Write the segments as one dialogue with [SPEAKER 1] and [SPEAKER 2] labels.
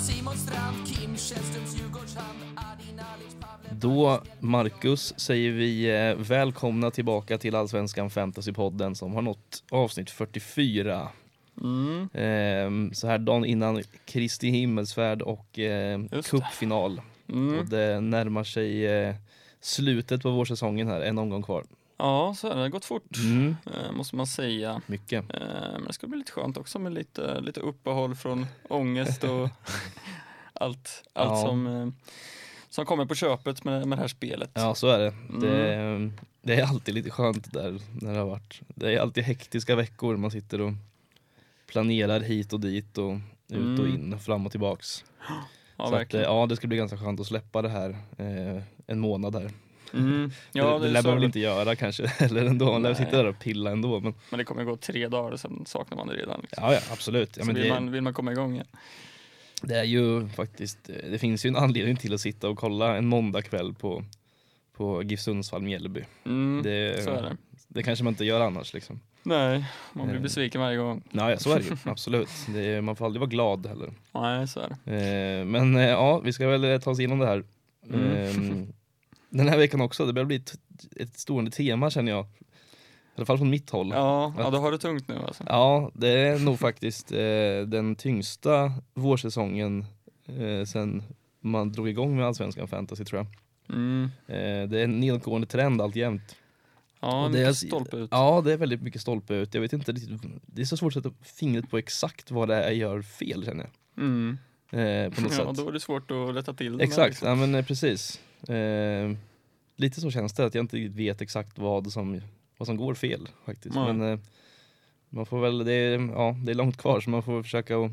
[SPEAKER 1] Simon Strand, Kim Källströms Djurgårdshamn, Adin Alic, Pavle...
[SPEAKER 2] Då, Marcus, säger vi eh, välkomna tillbaka till Allsvenskan Fantasypodden som har nått avsnitt 44.
[SPEAKER 3] Mm.
[SPEAKER 2] Ehm, så här dagen innan Kristi himmelsfärd och eh,
[SPEAKER 3] Just det.
[SPEAKER 2] cupfinal. Och
[SPEAKER 3] Mm.
[SPEAKER 2] det närmar sig eh, slutet på vårsäsongen här, en omgång kvar.
[SPEAKER 3] Ja, så är det. Det har gått fort,
[SPEAKER 2] Mm,
[SPEAKER 3] eh, måste man säga.
[SPEAKER 2] mycket.
[SPEAKER 3] Eh, Men det ska bli lite skönt också med lite, lite uppehåll från ångest och allt, allt
[SPEAKER 2] Ja.
[SPEAKER 3] som, eh, som kommer på köpet med, med det här spelet.
[SPEAKER 2] Ja, så är det.
[SPEAKER 3] Mm.
[SPEAKER 2] det. Det är alltid lite skönt där när det har varit. Det är alltid hektiska veckor. Man sitter och planerar hit och dit och ut och
[SPEAKER 3] Mm.
[SPEAKER 2] in, fram och tillbaks.
[SPEAKER 3] Ja,
[SPEAKER 2] så att, eh,
[SPEAKER 3] verkligen.
[SPEAKER 2] ja, det ska bli ganska skönt att släppa det här eh, en månad här.
[SPEAKER 3] Mm.
[SPEAKER 2] Ja, det, det lär
[SPEAKER 3] så
[SPEAKER 2] man väl
[SPEAKER 3] är
[SPEAKER 2] inte göra kanske heller ändå. Man lär
[SPEAKER 3] Nej.
[SPEAKER 2] sitta där och pilla ändå. Men
[SPEAKER 3] Men det kommer gå tre dagar, sen saknar man det redan. Liksom.
[SPEAKER 2] ja, ja absolut. Ja,
[SPEAKER 3] så
[SPEAKER 2] men
[SPEAKER 3] vill,
[SPEAKER 2] det,
[SPEAKER 3] man, vill man komma igång igen.
[SPEAKER 2] det är ju faktiskt, eh, det finns ju en anledning till att sitta och kolla en måndagkväll på, på GIF Sundsvall-Mjällby.
[SPEAKER 3] Mm.
[SPEAKER 2] Det,
[SPEAKER 3] Så är det.
[SPEAKER 2] det kanske man inte gör annars liksom.
[SPEAKER 3] Nej, man blir
[SPEAKER 2] Eh.
[SPEAKER 3] besviken varje gång.
[SPEAKER 2] Ja, ja, så är det ju. Absolut. Det är, man får aldrig vara glad heller.
[SPEAKER 3] Nej, så är det.
[SPEAKER 2] Eh, men eh, ja, vi ska väl eh, ta oss igenom det här.
[SPEAKER 3] Mm.
[SPEAKER 2] Ehm, den här veckan också. Det börjar bli ett, ett stående tema känner jag. I alla fall från mitt håll. Ja,
[SPEAKER 3] Ja, ja, då har du tungt nu alltså.
[SPEAKER 2] det är nog faktiskt eh, den tyngsta vårsäsongen eh, sen man drog igång med Allsvenskan Fantasy tror jag.
[SPEAKER 3] Mm.
[SPEAKER 2] Eh, det är en nedåtgående trend alltjämt.
[SPEAKER 3] Ja,
[SPEAKER 2] Och
[SPEAKER 3] det
[SPEAKER 2] det är-
[SPEAKER 3] är stolpe ut.
[SPEAKER 2] Ja, det är väldigt mycket stolpe ut. Jag vet inte, riktigt- det är så svårt att sätta fingret på exakt vad det är jag gör fel känner jag.
[SPEAKER 3] Mm.
[SPEAKER 2] Eh, på något
[SPEAKER 3] Ja,
[SPEAKER 2] sätt.
[SPEAKER 3] då är det svårt att rätta till den här,
[SPEAKER 2] Exakt,
[SPEAKER 3] liksom.
[SPEAKER 2] ja men eh, precis. Eh, lite så känns det, att jag inte riktigt vet exakt vad som, vad som går fel faktiskt.
[SPEAKER 3] Nej.
[SPEAKER 2] Men eh, man får väl, det är, ja, det är långt kvar så man får försöka att,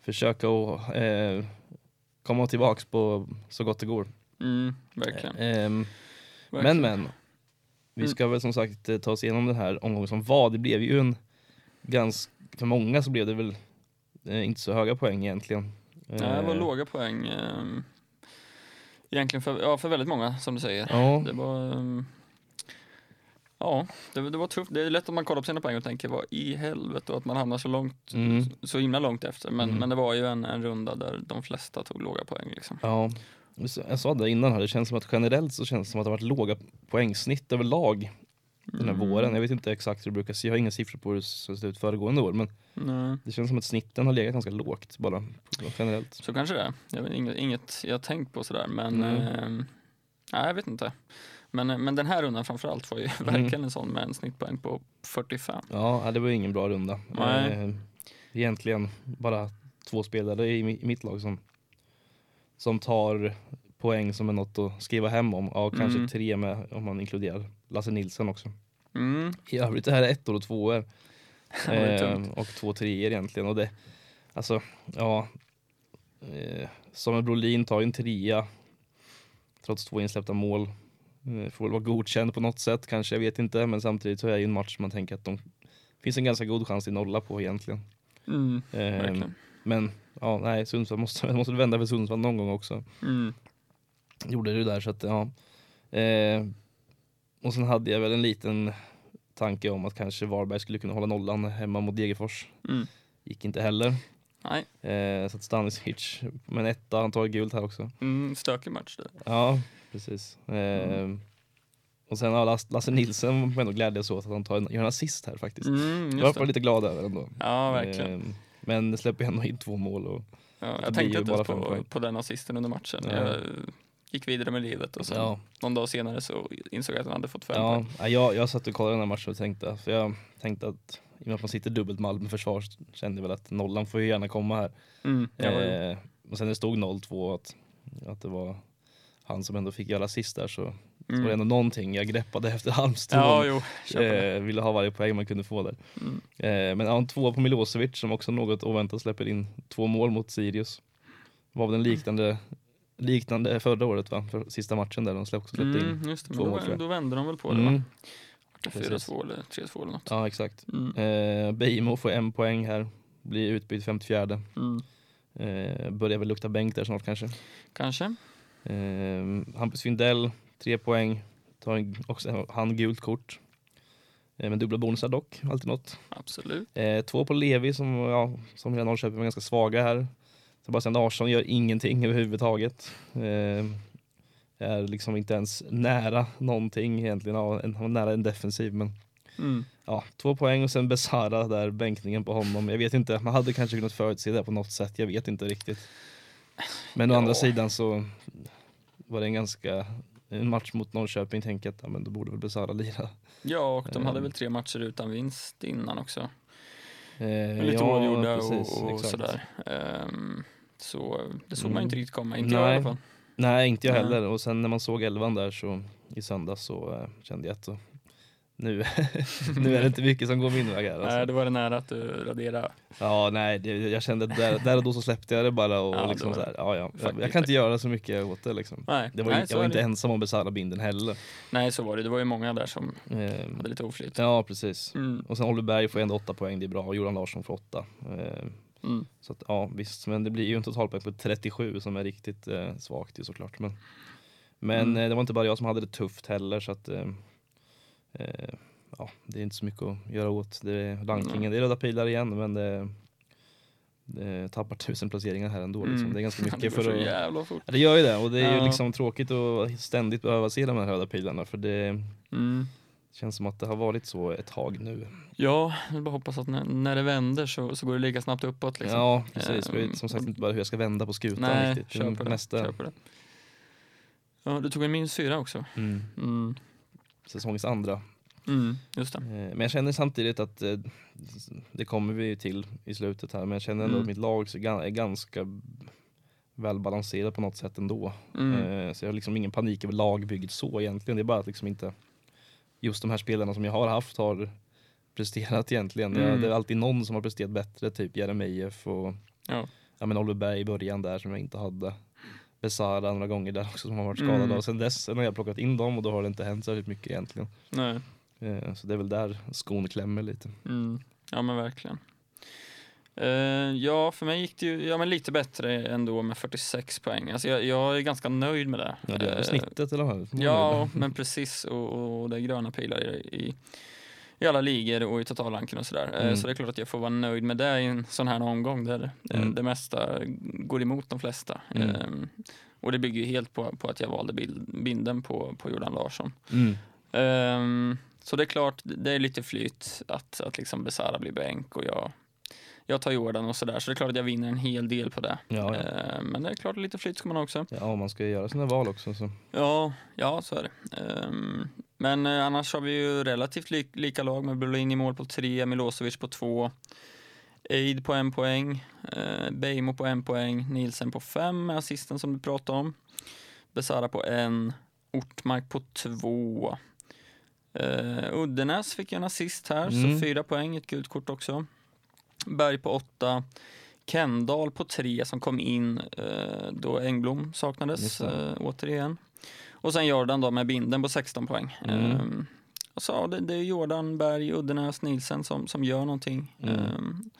[SPEAKER 2] försöka att eh, komma tillbaks på så gott det går.
[SPEAKER 3] Mm, verkligen.
[SPEAKER 2] Ehm, men
[SPEAKER 3] verkligen. Mm.
[SPEAKER 2] men, vi ska väl som sagt eh, ta oss igenom den här omgången som var. Det blev ju en, ganska, för många så blev det väl eh, inte så höga poäng egentligen.
[SPEAKER 3] Nej, det var
[SPEAKER 2] Eh,
[SPEAKER 3] låga poäng. ehm, Egentligen för, ja, för väldigt många, som du säger.
[SPEAKER 2] Ja,
[SPEAKER 3] Det var... ehm, Ja, det, det var tufft. Det är lätt att man kollar på sina poäng och tänker vad i helvete och att man hamnar så långt,
[SPEAKER 2] Mm.
[SPEAKER 3] så himla långt efter. Men,
[SPEAKER 2] Mm.
[SPEAKER 3] men det var ju en, en runda där de flesta tog låga poäng liksom.
[SPEAKER 2] Ja, jag sa- jag sa det innan här, det känns som att generellt så känns det som att det har varit låga poängsnitt överlag den här
[SPEAKER 3] Mm.
[SPEAKER 2] våren. Jag vet inte exakt hur det brukar se, jag har inga siffror på hur det såg ut föregående år, men
[SPEAKER 3] Nej,
[SPEAKER 2] det känns som att snitten har legat ganska lågt bara generellt.
[SPEAKER 3] så kanske det är. Jag vet, inget, inget jag har tänkt på sådär, men...
[SPEAKER 2] Nej.
[SPEAKER 3] ehm, nej, jag vet inte. Men, eh, men den här rundan framförallt var ju
[SPEAKER 2] Mm.
[SPEAKER 3] verkligen en sån med en snittpoäng på 45.
[SPEAKER 2] Ja, nej, det var ju ingen bra runda.
[SPEAKER 3] Nej.
[SPEAKER 2] Eh, Egentligen bara två spelare i mi- i mitt lag som, som tar poäng som är något att skriva hem om. Ja, kanske
[SPEAKER 3] Mm.
[SPEAKER 2] tre med om man inkluderar Lasse Nilsson också.
[SPEAKER 3] Mm.
[SPEAKER 2] I övrigt är det ettor och tvåor.
[SPEAKER 3] Ja, det är
[SPEAKER 2] eh,
[SPEAKER 3] tungt.
[SPEAKER 2] och två treor egentligen. Och det, alltså, ja. Eh, Samuel Brolin tar ju en trea. Trots två insläppta mål. Eh, får väl vara godkänd på något sätt kanske, jag vet inte. Men samtidigt så är det ju en match man tänker att de finns en ganska god chans till nolla på egentligen.
[SPEAKER 3] Mm.
[SPEAKER 2] Eh,
[SPEAKER 3] Verkligen.
[SPEAKER 2] men ja, nej, Sundsvall måste, måste vända för Sundsvall någon gång också
[SPEAKER 3] Mm.
[SPEAKER 2] gjorde det där så att ja. Eh, och sen hade jag väl en liten tanke om att kanske Varberg skulle kunna hålla nollan hemma mot Degerfors.
[SPEAKER 3] Mm.
[SPEAKER 2] Gick inte heller.
[SPEAKER 3] Nej,
[SPEAKER 2] Eh, så att Stanisic med en etta, han tar gult här också.
[SPEAKER 3] mm, stökig match det.
[SPEAKER 2] Ja, precis. Eh, Och sen har Lasse, Lasse Nilsson får ändå glädjas åt att han tar en, gör en assist här faktiskt.
[SPEAKER 3] Mm,
[SPEAKER 2] det var
[SPEAKER 3] just
[SPEAKER 2] jag
[SPEAKER 3] det.
[SPEAKER 2] lite glad över ändå.
[SPEAKER 3] Ja, verkligen.
[SPEAKER 2] Eh, men släpper ändå in två mål och det
[SPEAKER 3] Ja, jag
[SPEAKER 2] blir ju
[SPEAKER 3] tänkte inte
[SPEAKER 2] bara
[SPEAKER 3] ens
[SPEAKER 2] fem poäng.
[SPEAKER 3] på, på den assisten under matchen.
[SPEAKER 2] Nej.
[SPEAKER 3] Jag eh, gick vidare med livet och sen
[SPEAKER 2] ja.
[SPEAKER 3] någon dag senare så insåg jag att han hade fått fem
[SPEAKER 2] Ja,
[SPEAKER 3] poäng.
[SPEAKER 2] ja, jag, jag satt och kollade den här matchen och tänkte, för jag tänkte att i och med att man sitter dubbelt med Malmö försvar så kände jag väl att nollan får ju gärna komma här.
[SPEAKER 3] Mm, jag var-
[SPEAKER 2] Eh, och sen när det stod 0-2 att, att det var han som ändå fick göra assist där så
[SPEAKER 3] mm.
[SPEAKER 2] var det ändå någonting jag greppade efter Halmstad.
[SPEAKER 3] Ja, jo, köper det.
[SPEAKER 2] eh, ville ha varje poäng man kunde få där.
[SPEAKER 3] Mm.
[SPEAKER 2] Eh, men ja, en tvåa på Milosevic som också något oväntat släpper in två mål mot Sirius. Var väl en liknande, liknande förra året va? För sista matchen där de släpp- också släppte in.
[SPEAKER 3] Mm, just det, men
[SPEAKER 2] två mål, tror
[SPEAKER 3] då,
[SPEAKER 2] jag.
[SPEAKER 3] då vände de väl på det va?
[SPEAKER 2] Mm,
[SPEAKER 3] Vart det
[SPEAKER 2] precis.
[SPEAKER 3] 4-2 eller 3-2 eller något.
[SPEAKER 2] ja exakt.
[SPEAKER 3] Mm,
[SPEAKER 2] Eh, Beijmo får en poäng här, blir utbytt 54.
[SPEAKER 3] mm.
[SPEAKER 2] Eh, börjar väl lukta bänk där snart kanske.
[SPEAKER 3] Kanske.
[SPEAKER 2] Eh, Hampus Findell, tre poäng. Tar en, också han gult kort. Eh, men dubbla bonusar dock, alltid något.
[SPEAKER 3] Absolut.
[SPEAKER 2] Eh, två på Levi som, ja, som hela Norrköping var ganska svaga här. Som Sebastian Larsson gör ingenting överhuvudtaget. Eh, är liksom inte ens nära någonting egentligen. Ja, en- han var nära en defensiv men
[SPEAKER 3] Mm.
[SPEAKER 2] ja, två poäng och sen Besara där, bänkningen på honom. Jag vet inte, man hade kanske kunnat förutse det på något sätt. Jag vet inte riktigt. Men å
[SPEAKER 3] Ja.
[SPEAKER 2] andra sidan så var det en ganska en match mot Norrköping tänker jag att ja, men då borde väl Besara lira.
[SPEAKER 3] Ja, och de hade
[SPEAKER 2] Ehm.
[SPEAKER 3] väl tre matcher utan vinst innan också.
[SPEAKER 2] Eh,
[SPEAKER 3] Men lite
[SPEAKER 2] ja,
[SPEAKER 3] oavgjorda
[SPEAKER 2] precis,
[SPEAKER 3] och, och
[SPEAKER 2] exakt.
[SPEAKER 3] sådär. Ehm, så det såg man
[SPEAKER 2] Mm.
[SPEAKER 3] ju inte riktigt komma, inte jag
[SPEAKER 2] Nej.
[SPEAKER 3] i alla fall.
[SPEAKER 2] Nej, inte jag
[SPEAKER 3] Nej.
[SPEAKER 2] heller. Och sen när man såg elvan där så, i söndags så eh, kände jag att så, nu, nu är det inte mycket som går min väg här.
[SPEAKER 3] Nej,
[SPEAKER 2] Alltså.
[SPEAKER 3] då var det nära att eh, du raderade.
[SPEAKER 2] Ja, nej, det, jag kände att där, där och då så släppte jag det bara och
[SPEAKER 3] Ja, det
[SPEAKER 2] liksom
[SPEAKER 3] var
[SPEAKER 2] så här, ja, ja. Jag,
[SPEAKER 3] Faktiskt,
[SPEAKER 2] jag kan inte göra så mycket åt det liksom.
[SPEAKER 3] Nej,
[SPEAKER 2] Det var, ju-
[SPEAKER 3] nej, så
[SPEAKER 2] jag var
[SPEAKER 3] är
[SPEAKER 2] inte
[SPEAKER 3] det.
[SPEAKER 2] ensam om Besara-binden heller.
[SPEAKER 3] nej, så var det. Det var ju många där som
[SPEAKER 2] Eh,
[SPEAKER 3] hade lite oflyt.
[SPEAKER 2] ja, precis.
[SPEAKER 3] Mm,
[SPEAKER 2] Och sen Oliver Berg får ändå åtta poäng, det är bra. Och Johan Larsson får åtta. Eh,
[SPEAKER 3] mm.
[SPEAKER 2] så att, ja, visst. Men det blir ju en totalpoäng på 37 som är riktigt eh, svagt ju såklart. Men, men
[SPEAKER 3] Mm.
[SPEAKER 2] eh, det var inte bara jag som hade det tufft heller så att eh, eh, ja, det är inte så mycket att göra åt. Det är rankingen, det är röda pilar igen men det, det tappar tusen placeringar här ändå. Liksom.
[SPEAKER 3] Mm.
[SPEAKER 2] Det är ganska
[SPEAKER 3] det
[SPEAKER 2] mycket
[SPEAKER 3] går
[SPEAKER 2] för
[SPEAKER 3] så
[SPEAKER 2] att
[SPEAKER 3] jävla fort.
[SPEAKER 2] Ja, det gör ju det och det är ju
[SPEAKER 3] Ja.
[SPEAKER 2] liksom tråkigt att ständigt behöva se de här röda pilarna för det
[SPEAKER 3] Mm.
[SPEAKER 2] känns som att det har varit så ett tag nu.
[SPEAKER 3] Ja, jag vill bara hoppas att när, när det vänder så, så går det lika snabbt uppåt. Liksom.
[SPEAKER 2] Ja precis, jag
[SPEAKER 3] Ehm,
[SPEAKER 2] vet som sagt inte bara hur jag ska vända på skutan
[SPEAKER 3] Nej,
[SPEAKER 2] riktigt. Mm,
[SPEAKER 3] kör på det.
[SPEAKER 2] Mesta,
[SPEAKER 3] Kör på det. Ja, du tog en minus fyra också.
[SPEAKER 2] Mm,
[SPEAKER 3] Mm.
[SPEAKER 2] säsongens andra.
[SPEAKER 3] Mm, just
[SPEAKER 2] Eh,
[SPEAKER 3] det.
[SPEAKER 2] Men jag känner samtidigt att eh, det kommer vi ju till i slutet här men jag känner ändå
[SPEAKER 3] Mm.
[SPEAKER 2] att mitt lag så gan- är ganska välbalanserat på något sätt ändå.
[SPEAKER 3] Mm.
[SPEAKER 2] Eh, Så jag har liksom ingen panik över lagbygget så egentligen. Det är bara att liksom inte just de här spelarna som jag har haft har presterat egentligen. Jag-
[SPEAKER 3] Mm.
[SPEAKER 2] Det är alltid någon som har presterat bättre, typ Jeremejeff och
[SPEAKER 3] Ja.
[SPEAKER 2] ja, men Oliver Berg i början där som jag inte hade. Besara några gånger där också som har varit
[SPEAKER 3] Mm.
[SPEAKER 2] skadad och sen dess sen har jag plockat in dem och då har det inte hänt särskilt mycket egentligen.
[SPEAKER 3] Nej.
[SPEAKER 2] Eh, Så det är väl där skon klämmer lite.
[SPEAKER 3] Mm. Ja, men verkligen. Eh, ja, för mig gick det ju ja, men lite bättre ändå med 46 poäng. Alltså, jag, jag är ganska nöjd med det.
[SPEAKER 2] Ja, det är väl
[SPEAKER 3] Eh,
[SPEAKER 2] snittet eller vad?
[SPEAKER 3] Ja, men precis. Och, och det är gröna pilar i, i, i alla ligor och i totalranken och sådär. Eh,
[SPEAKER 2] Mm.
[SPEAKER 3] Så det är klart att jag får vara nöjd med det i en sån här omgång där eh,
[SPEAKER 2] Mm.
[SPEAKER 3] det mesta går emot de flesta.
[SPEAKER 2] Mm.
[SPEAKER 3] Eh, Och det bygger ju helt på, på att jag valde bild, binden på, på Jordan Larsson.
[SPEAKER 2] Mm.
[SPEAKER 3] Ehm, så det är klart, det är lite flyt att, att liksom Besara blir bänk och jag, jag tar Jordan och sådär. Så det är klart att jag vinner en hel del på det.
[SPEAKER 2] Ja, ja.
[SPEAKER 3] Ehm, men det är klart, lite flyt ska man ha också.
[SPEAKER 2] ja, man ska ju göra sina val också. Så.
[SPEAKER 3] Ja, ja så är det. Ehm, men eh, annars har vi ju relativt li- lika lag med Berlin i mål på tre, Milosevic på två, Eid på en poäng, eh, Bejmo på en poäng, Nielsen på fem med assisten som du pratade om, Besara på en, Ortmark på två. Eh, Uddenäs fick ju en assist här,
[SPEAKER 2] Mm.
[SPEAKER 3] så fyra poäng, ett gult kort också. Berg på åtta, Kendall på tre som kom in eh, då Engblom
[SPEAKER 2] Just
[SPEAKER 3] saknades
[SPEAKER 2] det.
[SPEAKER 3] eh, återigen. Och sen Jordan då med binden på 16 poäng.
[SPEAKER 2] Mm.
[SPEAKER 3] Ehm, och så, ja, det, det är Jordan, Berg, Uddenäs, Nilsen som, som gör någonting.
[SPEAKER 2] Mm.
[SPEAKER 3] Ehm,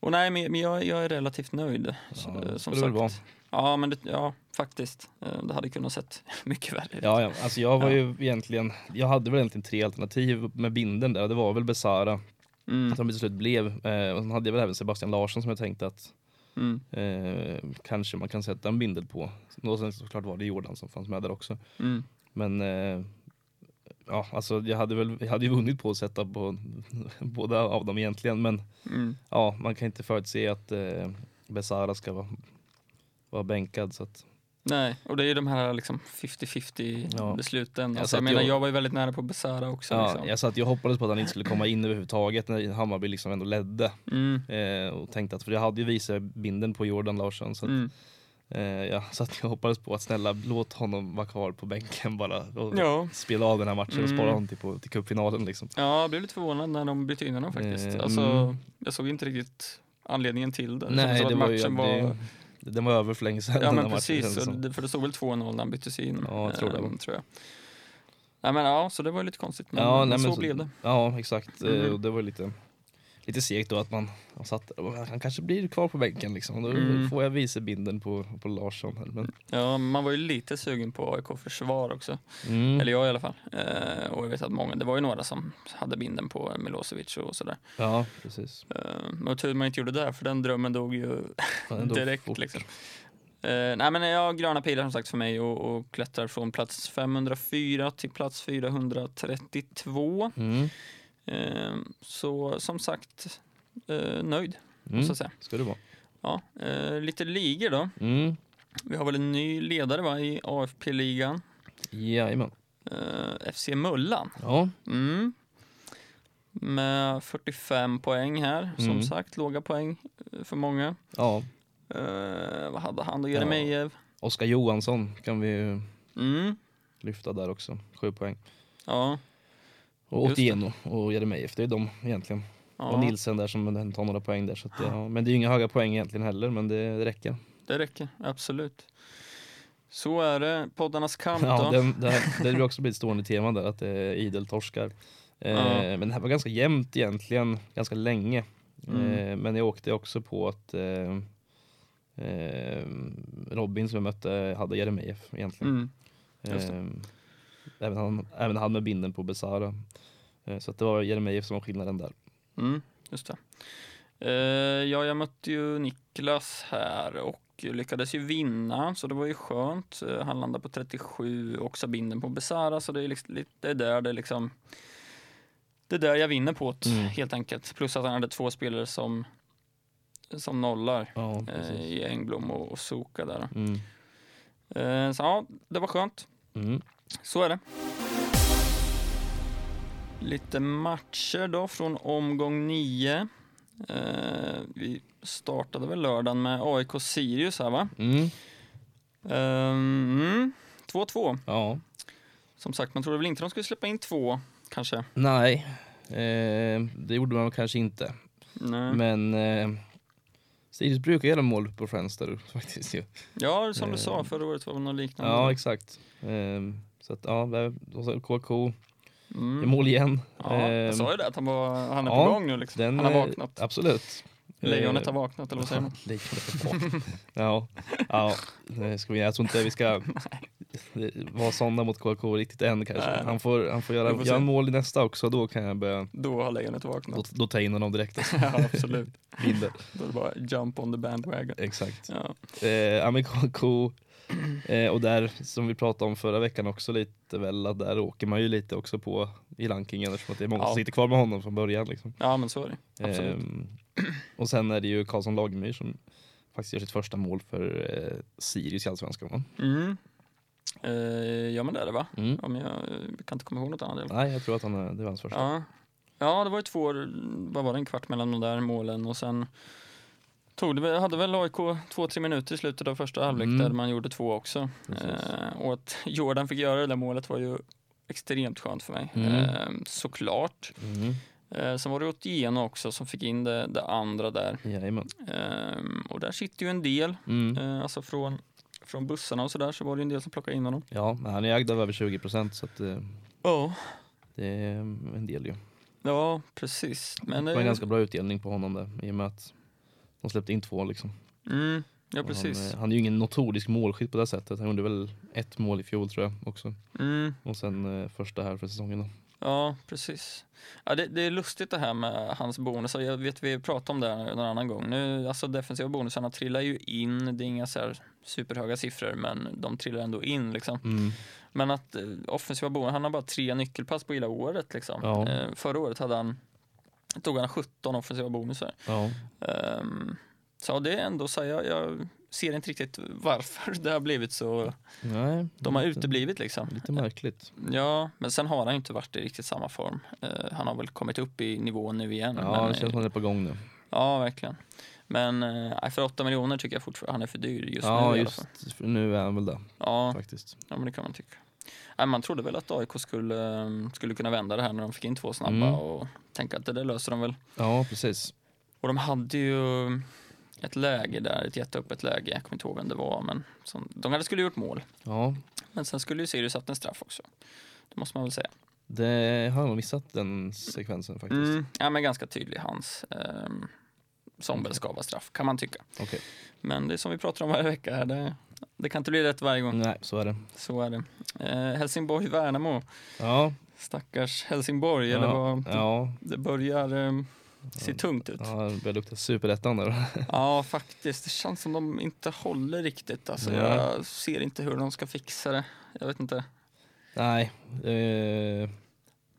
[SPEAKER 3] och nej, men, men jag, jag är relativt nöjd.
[SPEAKER 2] Ja,
[SPEAKER 3] eh,
[SPEAKER 2] det
[SPEAKER 3] som
[SPEAKER 2] skulle väl vara.
[SPEAKER 3] sagt. Ja, men det, ja, faktiskt. Eh, Det hade kunnat sett mycket värre ut.
[SPEAKER 2] Ja, ja. Alltså, jag var
[SPEAKER 3] Ja.
[SPEAKER 2] ju egentligen, jag hade väl egentligen tre alternativ med binden där. Det var väl Besara
[SPEAKER 3] Mm,
[SPEAKER 2] som det till slut blev. Eh, och sen hade jag väl även Sebastian Larsson som jag tänkte att
[SPEAKER 3] mm,
[SPEAKER 2] eh, kanske man kan sätta en bindel på. Och sen såklart var det Jordan som fanns med där också.
[SPEAKER 3] mm,
[SPEAKER 2] Men eh, ja, alltså, jag hade väl jag hade ju vunnit på att sätta på båda av dem egentligen. Men
[SPEAKER 3] mm.
[SPEAKER 2] ja, man kan inte förutse att eh, Besara ska vara, vara bänkad. Så att,
[SPEAKER 3] Nej, och det är ju de här liksom 50-50
[SPEAKER 2] Ja.
[SPEAKER 3] besluten.
[SPEAKER 2] Jag
[SPEAKER 3] Alltså,
[SPEAKER 2] satt
[SPEAKER 3] jag menar,
[SPEAKER 2] ju-
[SPEAKER 3] jag var ju väldigt nära på Besara också.
[SPEAKER 2] ja,
[SPEAKER 3] liksom.
[SPEAKER 2] jag, så att jag hoppades på att han inte skulle komma in överhuvudtaget när Hammarby liksom ändå ledde.
[SPEAKER 3] mm,
[SPEAKER 2] Eh, och tänkte att, för jag hade ju visat binden på Jordan Larsson. Så, att,
[SPEAKER 3] mm.
[SPEAKER 2] eh, ja, så att jag hoppades på att snälla låt honom vara kvar på bänken bara. Och
[SPEAKER 3] Ja.
[SPEAKER 2] Spela av den här matchen och spara
[SPEAKER 3] Mm.
[SPEAKER 2] honom till, på, till cupfinalen liksom.
[SPEAKER 3] ja, jag blev lite förvånad när de bytte in honom faktiskt.
[SPEAKER 2] Eh,
[SPEAKER 3] Alltså,
[SPEAKER 2] mm.
[SPEAKER 3] jag såg inte riktigt anledningen till det. Det kändes
[SPEAKER 2] Nej,
[SPEAKER 3] som
[SPEAKER 2] det
[SPEAKER 3] att
[SPEAKER 2] var ju,
[SPEAKER 3] matchen var...
[SPEAKER 2] det, den var över för länge sedan.
[SPEAKER 3] Ja
[SPEAKER 2] den
[SPEAKER 3] men
[SPEAKER 2] här matchen,
[SPEAKER 3] precis,
[SPEAKER 2] kändes
[SPEAKER 3] och
[SPEAKER 2] som.
[SPEAKER 3] det, för det stod väl 2-0 när han byttes in.
[SPEAKER 2] Ja, jag tror det.
[SPEAKER 3] ehm, tror jag. Nej, men, ja, så det var ju lite konstigt, men, men
[SPEAKER 2] nej,
[SPEAKER 3] så,
[SPEAKER 2] men
[SPEAKER 3] blev det.
[SPEAKER 2] Ja, exakt. Eh,
[SPEAKER 3] Mm.
[SPEAKER 2] Och det var lite lite segt då att man, man satt och bara, han kanske blir kvar på bänken liksom. Då
[SPEAKER 3] Mm.
[SPEAKER 2] får jag vicebinden på, på Larsson. Här. Men,
[SPEAKER 3] Ja, man var ju lite sugen på AIK försvar också.
[SPEAKER 2] mm.
[SPEAKER 3] Eller jag i alla fall. Eh, och jag vet att många, det var ju några som hade binden på Milosevic och sådär.
[SPEAKER 2] Ja, precis.
[SPEAKER 3] Eh, men tur man inte gjorde det, här, för den drömmen dog ju
[SPEAKER 2] Fan, ändå
[SPEAKER 3] direkt.
[SPEAKER 2] fort.
[SPEAKER 3] Liksom. Eh, nej men jag har gröna pilar som sagt för mig och, och klättrar från plats 504 till plats 432.
[SPEAKER 2] Mm.
[SPEAKER 3] Eh, så som sagt, eh, nöjd.
[SPEAKER 2] Mm.
[SPEAKER 3] Så att säga.
[SPEAKER 2] Ska det vara.
[SPEAKER 3] Ja, eh, lite ligor då.
[SPEAKER 2] Mm.
[SPEAKER 3] Vi har väl en ny ledare va, i AFP-ligan.
[SPEAKER 2] Jajamän.
[SPEAKER 3] Eh, FC Mullan.
[SPEAKER 2] Ja.
[SPEAKER 3] Mm. Med 45 poäng här, som
[SPEAKER 2] Mm.
[SPEAKER 3] sagt, låga poäng eh, för många.
[SPEAKER 2] ja.
[SPEAKER 3] Eh, vad hade han då? Jeremejeff?
[SPEAKER 2] Oskar Johansson kan vi ju
[SPEAKER 3] Mm.
[SPEAKER 2] lyfta där också. Sju poäng.
[SPEAKER 3] Ja,
[SPEAKER 2] Och
[SPEAKER 3] Just det.
[SPEAKER 2] Otieno och Jeremejeff, det är de egentligen. Och
[SPEAKER 3] ja
[SPEAKER 2] Nilsen där som tar några poäng där. Så att, det- ja. Men det är ju inga höga poäng egentligen heller, men det, det räcker.
[SPEAKER 3] det räcker. Absolut. Så är det. Poddarnas kamp då.
[SPEAKER 2] Ja, den, det, här, det har ju också blivit ett stående tema där att det är ideltorskar. Eh,
[SPEAKER 3] Ja.
[SPEAKER 2] Men det här var ganska jämnt egentligen, ganska länge. Eh,
[SPEAKER 3] Mm.
[SPEAKER 2] men jag åkte också på att eh, eh, Robin som jag mötte hade Jeremejeff egentligen.
[SPEAKER 3] Mm. just det.
[SPEAKER 2] Eh, även, han, även han med binden på Besara. Eh, så att det var Jeremejeff som var skillnaden där.
[SPEAKER 3] Mm, just det. Eh, ja, jag mötte ju Niklas här och lyckades ju vinna, så det var ju skönt. Eh, han landade på 37 och Sabinden på Besara, så det är liksom, lite- det är där det liksom... Det är där jag vinner på det,
[SPEAKER 2] Mm.
[SPEAKER 3] helt enkelt. Plus att han hade två spelare som, som nollar
[SPEAKER 2] Ja,
[SPEAKER 3] eh,
[SPEAKER 2] precis.
[SPEAKER 3] i Engblom och, och Soka där.
[SPEAKER 2] Mm.
[SPEAKER 3] Eh, så ja, det var skönt.
[SPEAKER 2] Mm.
[SPEAKER 3] Så är det. Lite matcher då från omgång 9. Eh, vi startade väl lördagen med AIK Sirius här va?
[SPEAKER 2] Mm.
[SPEAKER 3] Eh, mm, 2-2.
[SPEAKER 2] Ja.
[SPEAKER 3] Som sagt, man trodde väl inte de skulle släppa in två kanske.
[SPEAKER 2] Nej, eh, det gjorde man kanske inte.
[SPEAKER 3] Nej.
[SPEAKER 2] Men eh, Sirius brukar göra mål på Friendster faktiskt ju.
[SPEAKER 3] ja, som du
[SPEAKER 2] Eh,
[SPEAKER 3] sa, förra året var det något liknande.
[SPEAKER 2] Ja, exakt. Ehm, så att ja, där- och så KK,
[SPEAKER 3] mm.
[SPEAKER 2] i mål igen.
[SPEAKER 3] ja, jag
[SPEAKER 2] Ehm,
[SPEAKER 3] sa ju det, att han, var, han är
[SPEAKER 2] ja,
[SPEAKER 3] på gång nu liksom.
[SPEAKER 2] den,
[SPEAKER 3] han har
[SPEAKER 2] eh,
[SPEAKER 3] vaknat.
[SPEAKER 2] Absolut.
[SPEAKER 3] Lejonet har
[SPEAKER 2] Ehm,
[SPEAKER 3] vaknat, eller vad säger man?
[SPEAKER 2] Lejonet har vaknat. ja, ja det ska vi, jag tror inte vi ska vara sådana mot KK riktigt än kanske.
[SPEAKER 3] Nej.
[SPEAKER 2] Han får, han får göra,
[SPEAKER 3] Vi får se.
[SPEAKER 2] göra mål i nästa också, då kan jag börja,
[SPEAKER 3] Då har lejonet
[SPEAKER 2] då,
[SPEAKER 3] vaknat.
[SPEAKER 2] då tar jag in honom direkt. Alltså.
[SPEAKER 3] ja, absolut.
[SPEAKER 2] Binder.
[SPEAKER 3] Då är det bara jump on the bandwagon.
[SPEAKER 2] Exakt.
[SPEAKER 3] Ja.
[SPEAKER 2] Eh, ja, men KK, eh, och där som vi pratade om förra veckan också lite väl, att där åker man ju lite också på i rankingen eftersom att det är många
[SPEAKER 3] Ja.
[SPEAKER 2] som sitter kvar med honom från början. Liksom.
[SPEAKER 3] Ja, men så är det. Absolut.
[SPEAKER 2] Ehm, och sen är det ju Karlsson Lagemyr som faktiskt gör sitt första mål för eh, Sirius i Allsvenskan. va?
[SPEAKER 3] Mm. Eh, ja, men det är det va?
[SPEAKER 2] Mm.
[SPEAKER 3] Om jag eh, kan inte komma ihåg något annat. i alla fall.
[SPEAKER 2] Nej, jag tror att han är, det var hans första.
[SPEAKER 3] Ja. ja, det var ju två år, vad var det, en kvart mellan de där målen och sen tog det, väl- hade väl AIK två, tre minuter i slutet av första halvlek
[SPEAKER 2] Mm.
[SPEAKER 3] där man gjorde två också.
[SPEAKER 2] Precis.
[SPEAKER 3] Eh, och att Jordan fick göra det där målet var ju extremt skönt för mig.
[SPEAKER 2] Mm.
[SPEAKER 3] Eh, såklart.
[SPEAKER 2] Mm.
[SPEAKER 3] Eh, sen var det Otieno också som fick in det, det andra där.
[SPEAKER 2] Jajamän.
[SPEAKER 3] Eh, och där sitter ju en del,
[SPEAKER 2] Mm.
[SPEAKER 3] eh, alltså från, från bussarna och sådär så var det ju en del som plockade in honom.
[SPEAKER 2] Ja, men han är ägd av över 20 procent så att, eh,
[SPEAKER 3] Ja,
[SPEAKER 2] det är en del ju.
[SPEAKER 3] ja precis. Men eh,
[SPEAKER 2] det
[SPEAKER 3] det
[SPEAKER 2] var en ganska bra utdelning på honom där i och med att de släppte in två liksom.
[SPEAKER 3] Mm, ja,
[SPEAKER 2] Och
[SPEAKER 3] precis.
[SPEAKER 2] Han, eh, han är ju ingen notorisk målskytt på det här sättet. Han gjorde väl ett mål i fjol tror jag också.
[SPEAKER 3] Mm,
[SPEAKER 2] Och sen eh, första här för säsongen. då.
[SPEAKER 3] ja, precis. Ja, det, det är lustigt det här med hans bonusar. Jag vet vi pratade om det här någon annan gång. Nu, alltså defensiva bonusarna trillar ju in. Det är inga så här superhöga siffror, men de trillar ändå in liksom. Men att eh, offensiva bonusar, han har bara tre nyckelpass på hela året liksom.
[SPEAKER 2] Ja.
[SPEAKER 3] Eh, förra året hade han, tog han 17 offensiva bonusar.
[SPEAKER 2] Ja.
[SPEAKER 3] Ehm, så det är ändå så här, jag, jag ser inte riktigt varför det har blivit så.
[SPEAKER 2] Nej,
[SPEAKER 3] De har
[SPEAKER 2] lite,
[SPEAKER 3] uteblivit liksom.
[SPEAKER 2] lite märkligt.
[SPEAKER 3] Ja, men sen har han ju inte varit i riktigt samma form. Eh, han har väl kommit upp i nivå nu igen.
[SPEAKER 2] Ja,
[SPEAKER 3] men,
[SPEAKER 2] det känns som att det är på gång nu.
[SPEAKER 3] ja verkligen. Men eh, för 8 miljoner tycker jag fortfarande han är för dyr just nu.
[SPEAKER 2] Ja,
[SPEAKER 3] i alla fall.
[SPEAKER 2] just för nu är han väl det
[SPEAKER 3] Ja,
[SPEAKER 2] faktiskt.
[SPEAKER 3] ja, men det kan man tycka. Nej, man trodde väl att AIK skulle, eh, skulle kunna vända det här när de fick in två snabba
[SPEAKER 2] Mm.
[SPEAKER 3] och tänka att det där löser de väl.
[SPEAKER 2] Ja, precis.
[SPEAKER 3] Och de hade ju ett läge där, ett jätteöppet läge. Jag kommer inte ihåg vem det var, men som, de hade skulle gjort mål.
[SPEAKER 2] Ja,
[SPEAKER 3] Men sen skulle ju Sirius haft en straff också. Det måste man väl säga.
[SPEAKER 2] Det har jag nog missat den sekvensen faktiskt.
[SPEAKER 3] Mm, ja, men ganska tydlig hans. ehm, som väl ska vara straff, kan man tycka.
[SPEAKER 2] Okej,
[SPEAKER 3] Men det är som vi pratar om varje vecka här. Det, det kan inte bli rätt varje gång.
[SPEAKER 2] nej så är det.
[SPEAKER 3] Så är det. Eh, Helsingborg-Värnamo.
[SPEAKER 2] Ja,
[SPEAKER 3] Stackars Helsingborg. Eller
[SPEAKER 2] ja,
[SPEAKER 3] vad,
[SPEAKER 2] ja,
[SPEAKER 3] Det börjar eh, se tungt ut.
[SPEAKER 2] ja, det börjar lukta superettan där.
[SPEAKER 3] Ja, faktiskt. Det känns som de inte håller riktigt. Alltså,
[SPEAKER 2] Ja.
[SPEAKER 3] Jag ser inte hur de ska fixa det. Jag vet inte.
[SPEAKER 2] Nej, eh,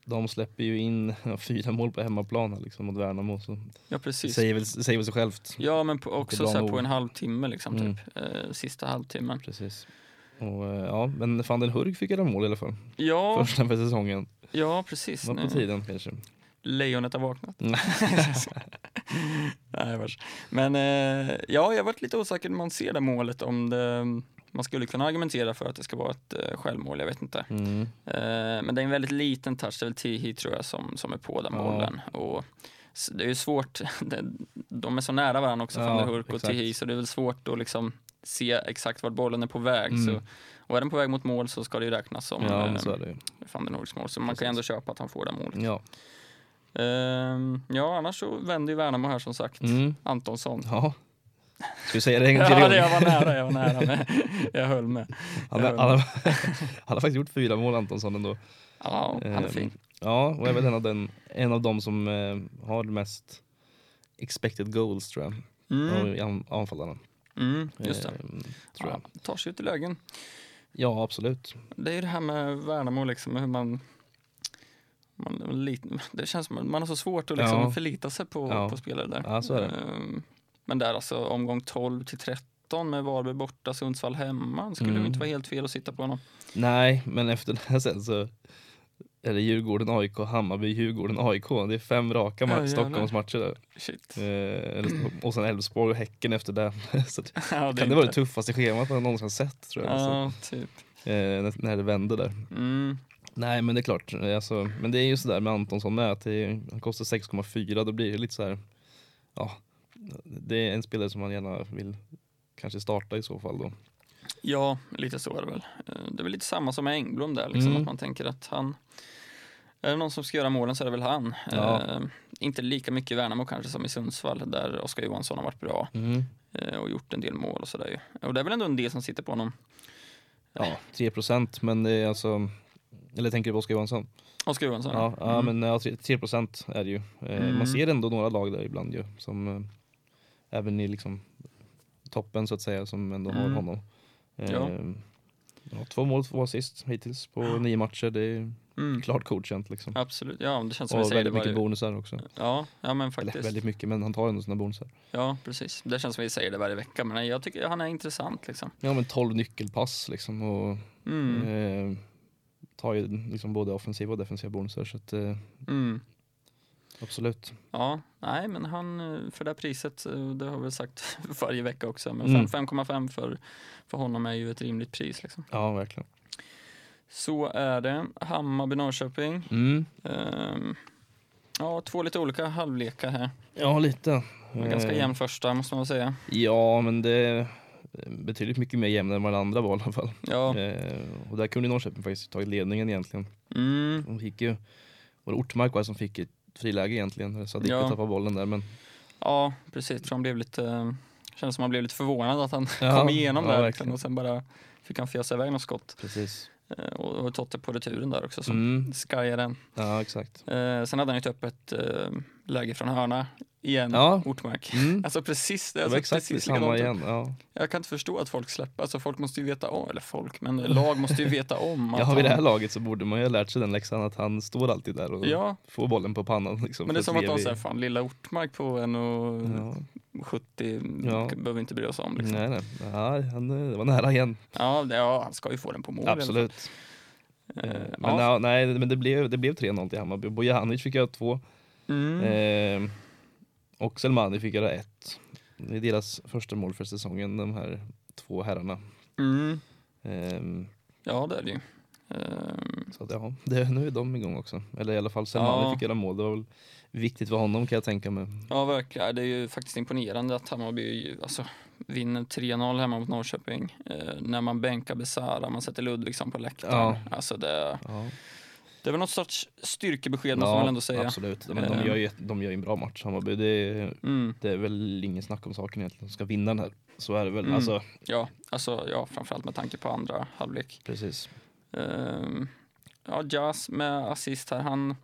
[SPEAKER 2] de släpper ju in fyra mål på hemmaplan här liksom mot Värnamo. Så
[SPEAKER 3] Ja,
[SPEAKER 2] det
[SPEAKER 3] precis.
[SPEAKER 2] säger väl, säger väl sig självt.
[SPEAKER 3] Ja, men på,
[SPEAKER 2] Inte
[SPEAKER 3] också
[SPEAKER 2] bra
[SPEAKER 3] så här,
[SPEAKER 2] nog.
[SPEAKER 3] på en halvtimme, liksom,
[SPEAKER 2] Mm.
[SPEAKER 3] typ. Eh, sista halvtimmen.
[SPEAKER 2] Precis. Och, eh, ja, men van den Hurg fick göra mål i alla fall.
[SPEAKER 3] Ja,
[SPEAKER 2] Första för säsongen.
[SPEAKER 3] ja precis.
[SPEAKER 2] Det var på
[SPEAKER 3] Nu.
[SPEAKER 2] tiden kanske.
[SPEAKER 3] Lejonet har vaknat.
[SPEAKER 2] Mm.
[SPEAKER 3] Nej, vars. Men eh, ja, jag har varit lite osäker när man ser det målet. Om det, man skulle kunna argumentera för att det ska vara ett eh, självmål, jag vet inte.
[SPEAKER 2] Mm.
[SPEAKER 3] Eh, men det är en väldigt liten touch, det är väl Tihi tror jag som, som är på den
[SPEAKER 2] Ja.
[SPEAKER 3] bollen. Och s- det är ju svårt, de- de är så nära varandra också,
[SPEAKER 2] Ja,
[SPEAKER 3] van der Hurk och
[SPEAKER 2] exakt.
[SPEAKER 3] Tihi, så det är väl svårt att liksom se exakt vart bollen är på väg.
[SPEAKER 2] Mm.
[SPEAKER 3] Så, och är den på väg mot mål så ska det ju räknas som
[SPEAKER 2] Ja,
[SPEAKER 3] eh,
[SPEAKER 2] men så är det ju.
[SPEAKER 3] van den Hurks mål, så man kan ju ändå köpa att han får det målet.
[SPEAKER 2] Ja.
[SPEAKER 3] Ehm, ja, annars så vänder ju Värnamo här som sagt.
[SPEAKER 2] Mm.
[SPEAKER 3] Antonsson.
[SPEAKER 2] ja. Ska vi säga det en gång till?
[SPEAKER 3] Ja, det,
[SPEAKER 2] Jon?
[SPEAKER 3] jag var nära, jag var nära. Men jag höll med.
[SPEAKER 2] han,
[SPEAKER 3] jag
[SPEAKER 2] han,
[SPEAKER 3] höll
[SPEAKER 2] han,
[SPEAKER 3] med.
[SPEAKER 2] har faktiskt gjort fyra mål Antonsson ändå.
[SPEAKER 3] Ja, han är
[SPEAKER 2] Ehm,
[SPEAKER 3] fin.
[SPEAKER 2] Ja, och är väl en av, den, en av de som eh, har mest expected goals tror jag.
[SPEAKER 3] Mm,
[SPEAKER 2] Av an- anfallarna.
[SPEAKER 3] mm, just det.
[SPEAKER 2] Ehm, tror
[SPEAKER 3] Ja,
[SPEAKER 2] jag.
[SPEAKER 3] tar sig ut i lägen.
[SPEAKER 2] Ja, absolut.
[SPEAKER 3] Det är ju det här med Värnamo, liksom, hur man... man är lite- det känns som att man har så svårt att liksom
[SPEAKER 2] Ja.
[SPEAKER 3] förlita sig på,
[SPEAKER 2] Ja.
[SPEAKER 3] på spelare där.
[SPEAKER 2] Ja, så är det.
[SPEAKER 3] Ehm, Men där alltså omgång 12 till 13 med Varberg borta, Sundsvall hemma. Det skulle
[SPEAKER 2] Mm.
[SPEAKER 3] ju inte vara helt fel att sitta på honom.
[SPEAKER 2] Nej, men efter det här sen så är det Djurgården, AIK, Hammarby, Djurgården, AIK. Det är fem raka
[SPEAKER 3] Ja,
[SPEAKER 2] ma-
[SPEAKER 3] jävlar.
[SPEAKER 2] Stockholmsmatcher där.
[SPEAKER 3] Shit.
[SPEAKER 2] Eh, eller- och sen Elfsborg och Häcken efter det. så det
[SPEAKER 3] Ja,
[SPEAKER 2] kan
[SPEAKER 3] är
[SPEAKER 2] det vara det
[SPEAKER 3] inte-
[SPEAKER 2] tuffaste schemat man någonsin har sett tror jag. Alltså,
[SPEAKER 3] Ja, typ.
[SPEAKER 2] eh, när- när det vände där.
[SPEAKER 3] Mm.
[SPEAKER 2] Nej men det är klart, Eh, alltså, men det är ju sådär med Antonsson med att det, han kostar 6,4 då blir det lite så här. ja, det är en spelare som man gärna vill kanske starta i så fall då.
[SPEAKER 3] Ja, lite så är det väl. Eh, Det är väl lite samma som med Engblom där, liksom,
[SPEAKER 2] Mm.
[SPEAKER 3] att man tänker att han... Är det någon som ska göra målen så är det väl han.
[SPEAKER 2] Ja.
[SPEAKER 3] Eh, inte lika mycket i Värnamo kanske som i Sundsvall där Oskar Johansson har varit bra eh, och gjort en del mål och sådär ju. Och det är väl ändå en del som sitter på honom.
[SPEAKER 2] Ja, 3% men det är alltså, eller tänker du på Oskar Johansson?
[SPEAKER 3] Oskar Johansson.
[SPEAKER 2] Ja, ja
[SPEAKER 3] Mm.
[SPEAKER 2] men ja, 3 procent är det ju. Eh,
[SPEAKER 3] Mm.
[SPEAKER 2] Man ser ändå några lag där ibland ju, som eh, även i liksom toppen så att säga, som ändå har
[SPEAKER 3] Mm.
[SPEAKER 2] honom. Eh,
[SPEAKER 3] Ja.
[SPEAKER 2] ja. två mål, två assist hittills på nio matcher. Det är
[SPEAKER 3] Mm.
[SPEAKER 2] klart godkänt liksom.
[SPEAKER 3] Absolut, ja det känns som vi
[SPEAKER 2] Och
[SPEAKER 3] säger det
[SPEAKER 2] väldigt mycket
[SPEAKER 3] varje...
[SPEAKER 2] bonusar också.
[SPEAKER 3] Ja, ja men
[SPEAKER 2] Eller
[SPEAKER 3] faktiskt.
[SPEAKER 2] väldigt mycket, men han tar ändå sina bonusar.
[SPEAKER 3] Ja, precis. Det känns som vi säger det varje vecka, men jag tycker han är intressant liksom.
[SPEAKER 2] Ja men 12 nyckelpass liksom och
[SPEAKER 3] Mm.
[SPEAKER 2] eh, tar ju liksom både offensiva och defensiva bonusar så att eh,
[SPEAKER 3] Mm.
[SPEAKER 2] absolut.
[SPEAKER 3] Ja, nej men han eh, för det här priset, eh, det har vi sagt varje vecka också, men
[SPEAKER 2] Mm.
[SPEAKER 3] fem- 5,5 för, för honom är ju ett rimligt pris. Liksom.
[SPEAKER 2] Ja verkligen.
[SPEAKER 3] Så är det. Hammarby-Norrköping.
[SPEAKER 2] Mm.
[SPEAKER 3] Ehm, ja, två lite olika halvlekar här.
[SPEAKER 2] Ja lite.
[SPEAKER 3] Det var Ganska
[SPEAKER 2] Eh,
[SPEAKER 3] jämn första måste man väl säga.
[SPEAKER 2] Ja, men det är betydligt mycket mer jämn än vad de andra var i alla fall.
[SPEAKER 3] Ja,
[SPEAKER 2] Eh, och där kunde Norrköping faktiskt tagit ledningen egentligen.
[SPEAKER 3] mm,
[SPEAKER 2] De fick ju, var det Ortmark var det som fick ett friläge egentligen, så att
[SPEAKER 3] Ja.
[SPEAKER 2] ja. tappade bollen där. Men,
[SPEAKER 3] ja precis. För han blev lite, eh, kändes som han blev lite förvånad att han
[SPEAKER 2] Ja,
[SPEAKER 3] kom igenom
[SPEAKER 2] ja,
[SPEAKER 3] där liksom,
[SPEAKER 2] verkligen.
[SPEAKER 3] och sen bara fick han fjäsa iväg något skott.
[SPEAKER 2] Precis.
[SPEAKER 3] Eh, och, och Totte på returen där också som
[SPEAKER 2] Mm.
[SPEAKER 3] skajade den.
[SPEAKER 2] Ja, exakt.
[SPEAKER 3] Eh, sen hade han ju ett öppet eh, läge från hörna igen,
[SPEAKER 2] Ja.
[SPEAKER 3] Ortmark.
[SPEAKER 2] Mm.
[SPEAKER 3] Alltså precis det.
[SPEAKER 2] Det
[SPEAKER 3] Alltså,
[SPEAKER 2] var exakt
[SPEAKER 3] precis typ
[SPEAKER 2] samma
[SPEAKER 3] likadant.
[SPEAKER 2] igen. Ja.
[SPEAKER 3] Jag kan inte förstå att folk släpper, alltså folk måste ju veta om, eller folk, men lag måste ju veta om.
[SPEAKER 2] Ja,
[SPEAKER 3] att
[SPEAKER 2] vid det här
[SPEAKER 3] han-
[SPEAKER 2] laget så borde man ju ha lärt sig den läxan att han står alltid där och
[SPEAKER 3] Ja,
[SPEAKER 2] får bollen på pannan. Liksom,
[SPEAKER 3] men det är
[SPEAKER 2] för
[SPEAKER 3] som att de
[SPEAKER 2] bredvid.
[SPEAKER 3] säger, fan lilla Ortmark på en och
[SPEAKER 2] Ja,
[SPEAKER 3] 70
[SPEAKER 2] Ja.
[SPEAKER 3] behöver vi inte bry oss om. Liksom.
[SPEAKER 2] nej, nej. Ja, han, eh, det var nära igen.
[SPEAKER 3] Ja, det, ja, han ska ju få den på mål. i alla fall.
[SPEAKER 2] Absolut. Eh,
[SPEAKER 3] Eh,
[SPEAKER 2] Men,
[SPEAKER 3] ja.
[SPEAKER 2] ja, nej, men det blev, det blev 3-0 till Hammarby. Bojanic fick göra två.
[SPEAKER 3] Mm.
[SPEAKER 2] Eh, och Selmani fick göra ett. Det är deras första mål för säsongen, de här två herrarna.
[SPEAKER 3] Mm.
[SPEAKER 2] Eh,
[SPEAKER 3] ja, det är det ju. Ehm,
[SPEAKER 2] så att, ja, det, nu är de igång också. Eller i alla fall Selmani
[SPEAKER 3] Ja.
[SPEAKER 2] fick göra mål. Det var väl viktigt för honom kan jag tänka mig.
[SPEAKER 3] Ja, verkligen. Det är ju faktiskt imponerande att Hammarby ju, alltså, vinner 3-0 hemma mot Norrköping. Eh, när man bänkar Besara, man sätter Ludvigsson på liksom läktaren.
[SPEAKER 2] Ja.
[SPEAKER 3] Alltså det,
[SPEAKER 2] Ja.
[SPEAKER 3] Det är väl något sorts styrkebesked måste
[SPEAKER 2] Ja,
[SPEAKER 3] man väl ändå säga.
[SPEAKER 2] Absolut, men de
[SPEAKER 3] Eh.
[SPEAKER 2] gör ju, ett- de gör ju en bra match Hammarby. Det,
[SPEAKER 3] Mm.
[SPEAKER 2] det är väl ingen snack om saken egentligen. De ska vinna den här. Så är det väl.
[SPEAKER 3] Mm.
[SPEAKER 2] Alltså,
[SPEAKER 3] Ja, alltså, ja, framförallt med tanke på andra halvlek.
[SPEAKER 2] precis.
[SPEAKER 3] Ehm, ja, Jazz med assist här, han...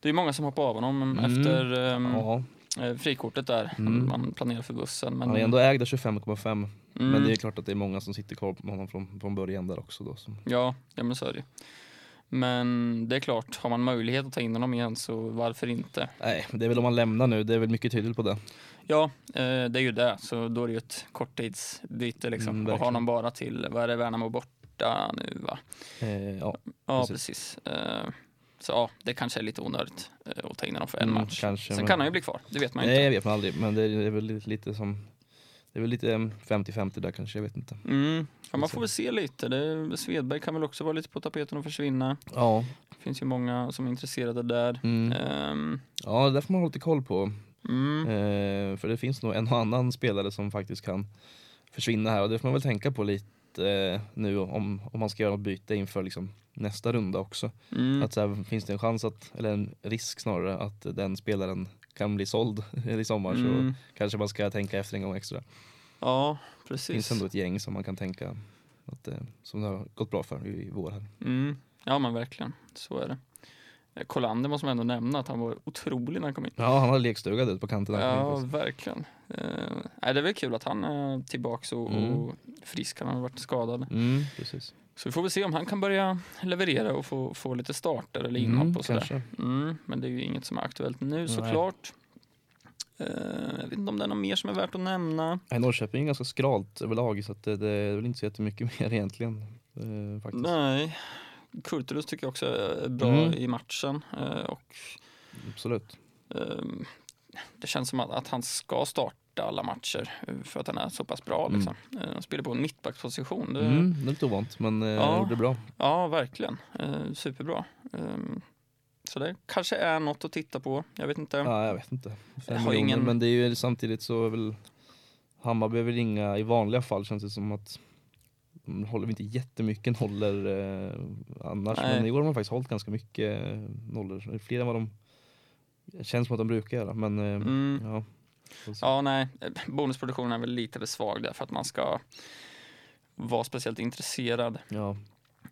[SPEAKER 3] Det är ju många som hoppar av honom
[SPEAKER 2] Mm.
[SPEAKER 3] efter ehm,
[SPEAKER 2] Ja,
[SPEAKER 3] eh, frikortet där.
[SPEAKER 2] Mm.
[SPEAKER 3] Man planerar för bussen. Men,
[SPEAKER 2] han är ändå ägd av 25,5.
[SPEAKER 3] Mm,
[SPEAKER 2] Men det är klart att det är många som sitter kvar på honom från, från början där också. Då, som,
[SPEAKER 3] ja, ja, men så är det ju. Men det är klart, har man möjlighet att ta in honom igen så varför inte?
[SPEAKER 2] nej, men det är väl om man lämnar nu. Det är väl mycket tydligt på det.
[SPEAKER 3] Ja, eh, det är ju det. Så då är det ju ett korttidsbyte liksom.
[SPEAKER 2] Mm,
[SPEAKER 3] och ha
[SPEAKER 2] verkligen.
[SPEAKER 3] honom bara till, vad är det, Värnamo borta nu va?
[SPEAKER 2] Eh, ja,
[SPEAKER 3] Ja,
[SPEAKER 2] Precis.
[SPEAKER 3] precis. Eh, så ja, det kanske är lite onödigt eh, att ta in honom för en
[SPEAKER 2] mm,
[SPEAKER 3] match.
[SPEAKER 2] Kanske,
[SPEAKER 3] Sen
[SPEAKER 2] men-
[SPEAKER 3] kan han ju bli kvar, det vet man ju
[SPEAKER 2] Nej, jag vet man aldrig. Men det är, det är väl lite, lite som... Det är väl lite em, 50-50 där kanske, jag vet inte.
[SPEAKER 3] inte. Mm. Ja, man får väl se lite. Det, Svedberg kan väl också vara lite på tapeten och försvinna.
[SPEAKER 2] Ja,
[SPEAKER 3] Det finns ju många som är intresserade där.
[SPEAKER 2] mm.
[SPEAKER 3] Ehm,
[SPEAKER 2] ja det där får man ha lite koll på.
[SPEAKER 3] mm.
[SPEAKER 2] Eh, för det finns nog en och annan spelare som faktiskt kan försvinna här och det får man väl tänka på lite eh, nu om, om man ska göra något byte inför liksom, nästa runda också.
[SPEAKER 3] Mm.
[SPEAKER 2] Att, så här, finns det en chans, att, eller en risk snarare, att den spelaren kan bli såld i sommar
[SPEAKER 3] Mm.
[SPEAKER 2] så kanske man ska tänka efter en gång extra.
[SPEAKER 3] Ja,
[SPEAKER 2] Det finns
[SPEAKER 3] precis.
[SPEAKER 2] ändå ett gäng som man kan tänka att, eh, som det har gått bra för i, i vår här.
[SPEAKER 3] Mm. Ja, men verkligen. Så är det. Eh, Kolander måste man ändå nämna att han var otrolig när han kom in.
[SPEAKER 2] Ja, han har lekstuga där ute på kanten. där.
[SPEAKER 3] Ja, verkligen. Eh, nej, det är väl kul att han är tillbaka och,
[SPEAKER 2] Mm.
[SPEAKER 3] och frisk. Han har varit skadad.
[SPEAKER 2] Mm, precis.
[SPEAKER 3] Så vi får väl se om han kan börja leverera och få, få lite starter eller inhopp
[SPEAKER 2] Mm,
[SPEAKER 3] och sådär.
[SPEAKER 2] kanske.
[SPEAKER 3] Mm, men det är ju inget som är aktuellt nu såklart. Eh, jag vet inte om det är något mer som är värt att nämna.
[SPEAKER 2] Nej, Norrköping är ganska skralt överlag så att det, det är väl inte så jättemycket mer egentligen. Eh, faktiskt.
[SPEAKER 3] Nej. Kurtulus tycker jag också är bra
[SPEAKER 2] Mm.
[SPEAKER 3] i matchen. Eh, och,
[SPEAKER 2] Absolut.
[SPEAKER 3] ehm, det känns som att, att han ska starta alla matcher eh, för att han är så pass bra.
[SPEAKER 2] Mm.
[SPEAKER 3] Liksom. Eh, han spelar på en mittbacksposition. Det,
[SPEAKER 2] Mm, det är lite ovant men eh,
[SPEAKER 3] Ja.
[SPEAKER 2] gjorde det bra.
[SPEAKER 3] Ja, verkligen. Eh, superbra. Ehm, så det kanske är något att titta på. Jag vet inte.
[SPEAKER 2] Ja, jag vet inte. Fem
[SPEAKER 3] Jag har
[SPEAKER 2] miljoner,
[SPEAKER 3] ingen-
[SPEAKER 2] Men det är ju samtidigt så är väl Hammarby är väl inga, i vanliga fall känns det som att de håller väl inte jättemycket nollor eh, annars.
[SPEAKER 3] Nej.
[SPEAKER 2] Men i år har de faktiskt hållit ganska mycket eh, nollor. Fler än vad de det känns som att de brukar göra. Men eh,
[SPEAKER 3] Mm.
[SPEAKER 2] ja. Får se.
[SPEAKER 3] Ja, nej. eh, Bonusproduktionen är väl lite för svag där för att man ska vara speciellt intresserad.
[SPEAKER 2] ja.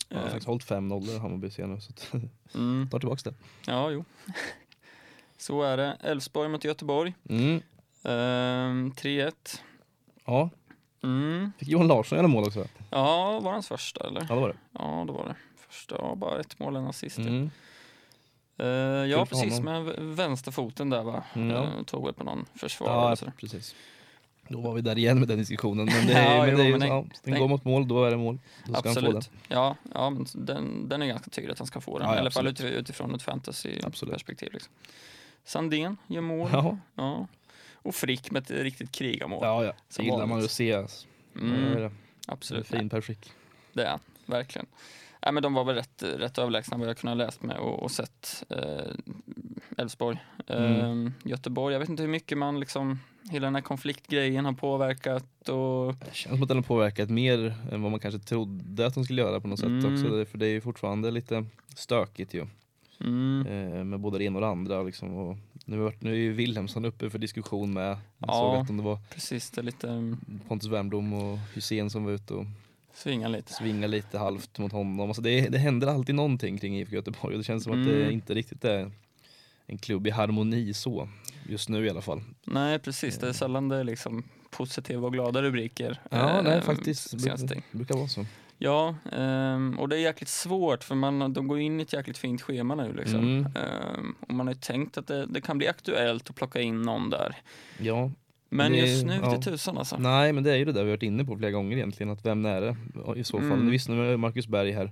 [SPEAKER 2] De har
[SPEAKER 3] Eh,
[SPEAKER 2] faktiskt hållit fem nollor Hammarby senare så att,
[SPEAKER 3] Mm.
[SPEAKER 2] tar tillbaka det.
[SPEAKER 3] Ja, jo. Så är det. Elfsborg mot Göteborg.
[SPEAKER 2] Mm.
[SPEAKER 3] Ehm, 3-1.
[SPEAKER 2] Ja,
[SPEAKER 3] Mm.
[SPEAKER 2] fick Johan Larsson göra mål också? va?
[SPEAKER 3] Ja, var det hans första eller?
[SPEAKER 2] Ja det var det.
[SPEAKER 3] Ja, det var det. Första, ja, bara ett mål, en assist. typ.
[SPEAKER 2] Mm.
[SPEAKER 3] Ehm, ja,
[SPEAKER 2] Kul för
[SPEAKER 3] precis.
[SPEAKER 2] honom.
[SPEAKER 3] Med v- vänsterfoten där va?
[SPEAKER 2] Mm, ja.
[SPEAKER 3] Ehm, tog väl på någon försvarare
[SPEAKER 2] Ja,
[SPEAKER 3] och sådär.
[SPEAKER 2] precis. Då var vi där igen med den diskussionen. Men det,
[SPEAKER 3] Ja,
[SPEAKER 2] är men
[SPEAKER 3] jo,
[SPEAKER 2] det är ju,
[SPEAKER 3] men den-
[SPEAKER 2] ja, den
[SPEAKER 3] den-
[SPEAKER 2] går mot mål, då är det mål. Då ska han få den.
[SPEAKER 3] Absolut. Ja, ja men den, den är ganska tydlig att han ska få den.
[SPEAKER 2] Ja, ja,
[SPEAKER 3] I alla fall utif- utifrån ett fantasyperspektiv. Liksom. Sandén gör mål. Ja.
[SPEAKER 2] Ja,
[SPEAKER 3] Och Frick med ett riktigt krigarmål.
[SPEAKER 2] ja, ja. Så
[SPEAKER 3] Som
[SPEAKER 2] gillar man
[SPEAKER 3] vanligt.
[SPEAKER 2] ju att se. Alltså.
[SPEAKER 3] Mm,
[SPEAKER 2] Det är det.
[SPEAKER 3] absolut.
[SPEAKER 2] Fin Per Frick.
[SPEAKER 3] Det är han, verkligen. Nej, men de var väl rätt, rätt överlägsna vad jag kunnat läst med och, och sett eh, Elfsborg.
[SPEAKER 2] Mm.
[SPEAKER 3] Eh, Göteborg, jag vet inte hur mycket man liksom, hela den här konfliktgrejen har påverkat och
[SPEAKER 2] Det känns som att den har påverkat mer än vad man kanske trodde att de skulle göra på något sätt
[SPEAKER 3] Mm.
[SPEAKER 2] också. Det- För det är ju fortfarande lite stökigt ju.
[SPEAKER 3] mm,
[SPEAKER 2] Eh, Med både det ena och det andra liksom. och nu, har- nu är ju Wilhelmsson uppe för diskussion med. Jag
[SPEAKER 3] Ja.
[SPEAKER 2] såg att om det var
[SPEAKER 3] precis, det är lite, mm,
[SPEAKER 2] Pontus Wernbloom och Hussein som var ute och
[SPEAKER 3] svingar lite.
[SPEAKER 2] svinga lite halvt mot honom. Alltså det, det händer alltid någonting kring IFK Göteborg och det känns som att det
[SPEAKER 3] Mm.
[SPEAKER 2] inte riktigt är en klubb i harmoni så. Just nu i alla fall.
[SPEAKER 3] Nej, precis.
[SPEAKER 2] Mm.
[SPEAKER 3] Det är sällan det är liksom positiva och glada rubriker.
[SPEAKER 2] Ja,
[SPEAKER 3] eh,
[SPEAKER 2] nej faktiskt. Det
[SPEAKER 3] senaste
[SPEAKER 2] brukar,
[SPEAKER 3] ting.
[SPEAKER 2] brukar vara så.
[SPEAKER 3] Ja, ehm, och det är jäkligt svårt för man, de går in i ett jäkligt fint schema nu. Liksom.
[SPEAKER 2] Mm.
[SPEAKER 3] Ehm, och man har ju tänkt att det, det kan bli aktuellt att plocka in någon där.
[SPEAKER 2] Ja,
[SPEAKER 3] Men
[SPEAKER 2] Det-
[SPEAKER 3] just nu
[SPEAKER 2] ja.
[SPEAKER 3] vete tusan alltså.
[SPEAKER 2] nej men det är ju det där vi har varit inne på flera gånger egentligen att vem är det i så fall?
[SPEAKER 3] Mm.
[SPEAKER 2] Nu Visst nu är Marcus Berg här,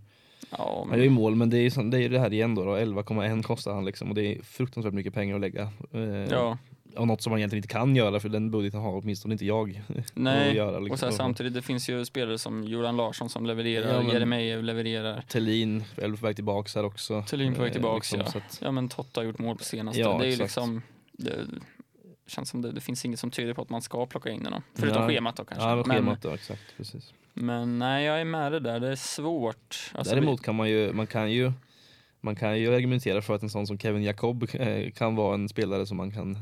[SPEAKER 3] Ja,
[SPEAKER 2] han gör ju
[SPEAKER 3] men,
[SPEAKER 2] mål men det är ju sån- det, är ju det här igen då, då. 11,1 kostar han liksom och det är fruktansvärt mycket pengar att lägga. Eh,
[SPEAKER 3] ja,
[SPEAKER 2] Och något som man egentligen inte kan göra för den budgeten har åtminstone inte jag. att
[SPEAKER 3] nej.
[SPEAKER 2] göra, liksom.
[SPEAKER 3] Och så här, samtidigt, det finns ju spelare som Jordan Larsson som levererar,
[SPEAKER 2] Ja, men-
[SPEAKER 3] Jeremejeff levererar.
[SPEAKER 2] Tellin, eller på väg tillbaks här också.
[SPEAKER 3] Thelin på väg
[SPEAKER 2] Eh,
[SPEAKER 3] tillbaks, ja.
[SPEAKER 2] så att,
[SPEAKER 3] Ja, men Totta har gjort mål på senaste.
[SPEAKER 2] Ja,
[SPEAKER 3] det är ju
[SPEAKER 2] exakt.
[SPEAKER 3] liksom... Det, känns som det, det finns inget som tyder på att man ska plocka in någon. Förutom
[SPEAKER 2] Nej.
[SPEAKER 3] schemat då kanske.
[SPEAKER 2] ja men
[SPEAKER 3] men,
[SPEAKER 2] schemat då, exakt. Precis.
[SPEAKER 3] men nej, jag är med det där. Det är svårt. Alltså,
[SPEAKER 2] Däremot kan man ju, man kan ju Man kan ju argumentera för att en sån som Kevin Jacob eh, kan vara en spelare som man kan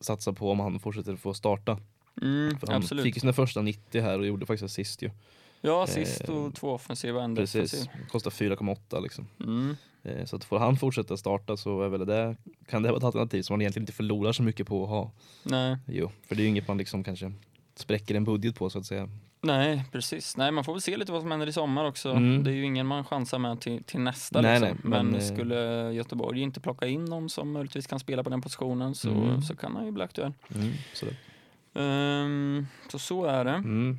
[SPEAKER 2] satsa på om han fortsätter få starta.
[SPEAKER 3] Mm,
[SPEAKER 2] För han
[SPEAKER 3] absolut.
[SPEAKER 2] fick ju sina första 90 här och gjorde faktiskt assist ju.
[SPEAKER 3] Ja, sist
[SPEAKER 2] Eh,
[SPEAKER 3] och två offensiva, en
[SPEAKER 2] Precis,
[SPEAKER 3] defensiv.
[SPEAKER 2] kostar 4,8 liksom.
[SPEAKER 3] Mm.
[SPEAKER 2] Eh, Så att får han fortsätta starta så är väl det, kan det vara ett alternativ som man egentligen inte förlorar så mycket på att ha.
[SPEAKER 3] Nej.
[SPEAKER 2] Jo, för det är ju inget man liksom kanske spräcker en budget på så att säga.
[SPEAKER 3] nej, precis. Nej, man får väl se lite vad som händer i sommar också.
[SPEAKER 2] Mm.
[SPEAKER 3] Det är ju ingen man chansar med till, till nästa.
[SPEAKER 2] Nej,
[SPEAKER 3] liksom.
[SPEAKER 2] nej, men,
[SPEAKER 3] men
[SPEAKER 2] eh,
[SPEAKER 3] skulle Göteborg inte plocka in någon som möjligtvis kan spela på den positionen så,
[SPEAKER 2] Mm.
[SPEAKER 3] så kan han ju bli aktuell.
[SPEAKER 2] Mm, så, det-
[SPEAKER 3] Ehm, så så är det.
[SPEAKER 2] mm,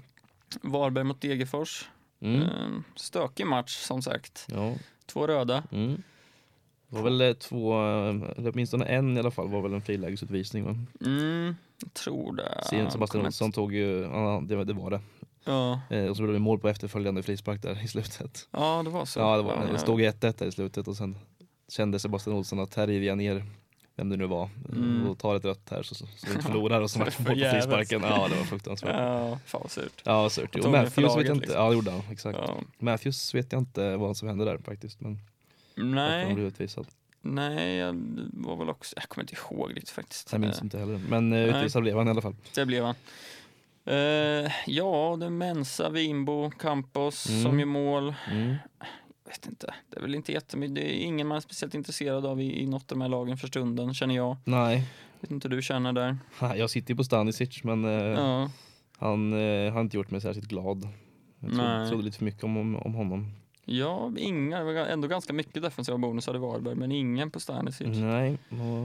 [SPEAKER 3] Varberg mot Degerfors.
[SPEAKER 2] mm,
[SPEAKER 3] Ehm, stökig match som sagt.
[SPEAKER 2] ja,
[SPEAKER 3] Två röda.
[SPEAKER 2] mm. Det var väl eh, två, eh, eller åtminstone en i alla fall var väl en frilägesutvisning va?
[SPEAKER 3] Mm, jag tror det.
[SPEAKER 2] Sen Sebastian
[SPEAKER 3] Kommer-
[SPEAKER 2] Olsson tog ju, ja det, var- det var det.
[SPEAKER 3] Ja.
[SPEAKER 2] Eh, Och så blev det mål på efterföljande frispark där i slutet.
[SPEAKER 3] ja, det var så.
[SPEAKER 2] Ja, det, var, det
[SPEAKER 3] ja.
[SPEAKER 2] stod 1-1 där i slutet och sen kände Sebastian Olsson att här river jag ner vem det nu var
[SPEAKER 3] Mm.
[SPEAKER 2] och tar ett rött här så, så, så vi inte förlorar och så
[SPEAKER 3] Så
[SPEAKER 2] vart det
[SPEAKER 3] det
[SPEAKER 2] mål på
[SPEAKER 3] förjäves.
[SPEAKER 2] frisparken. Ja, det var fruktansvärt.
[SPEAKER 3] Ja, fan vad surt.
[SPEAKER 2] Ja, surt.
[SPEAKER 3] Jag
[SPEAKER 2] Och
[SPEAKER 3] tog mig för
[SPEAKER 2] Matthews vet
[SPEAKER 3] laget,
[SPEAKER 2] jag inte.
[SPEAKER 3] liksom.
[SPEAKER 2] Ja, det gjorde han. Exakt.
[SPEAKER 3] Ja.
[SPEAKER 2] Matthews vet jag inte vad som hände där faktiskt. Men att han
[SPEAKER 3] Nej,
[SPEAKER 2] blev utvisad.
[SPEAKER 3] nej, jag var väl också... Jag kommer inte ihåg riktigt faktiskt.
[SPEAKER 2] Jag minns
[SPEAKER 3] Eh,
[SPEAKER 2] inte heller. Men eh, utvisad blev han i alla fall.
[SPEAKER 3] Det blev han. Eh, ja, det är Mensa, Wimbo, Campos
[SPEAKER 2] Mm.
[SPEAKER 3] som gör mål.
[SPEAKER 2] Mm.
[SPEAKER 3] Jag vet inte, det är väl inte jättemycket. Det är ingen man är speciellt intresserad av i, i något av de här lagen för stunden, känner jag.
[SPEAKER 2] Nej,
[SPEAKER 3] Vet inte hur du känner där.
[SPEAKER 2] Ha, jag sitter ju på Stanisic men eh,
[SPEAKER 3] Ja,
[SPEAKER 2] han eh, har inte gjort mig särskilt glad. Jag trodde,
[SPEAKER 3] Nej.
[SPEAKER 2] trodde lite för mycket om, om, om honom.
[SPEAKER 3] ja inga, det var ändå ganska mycket defensiva bonusar i Varberg, men ingen på Stanisic.
[SPEAKER 2] Nej,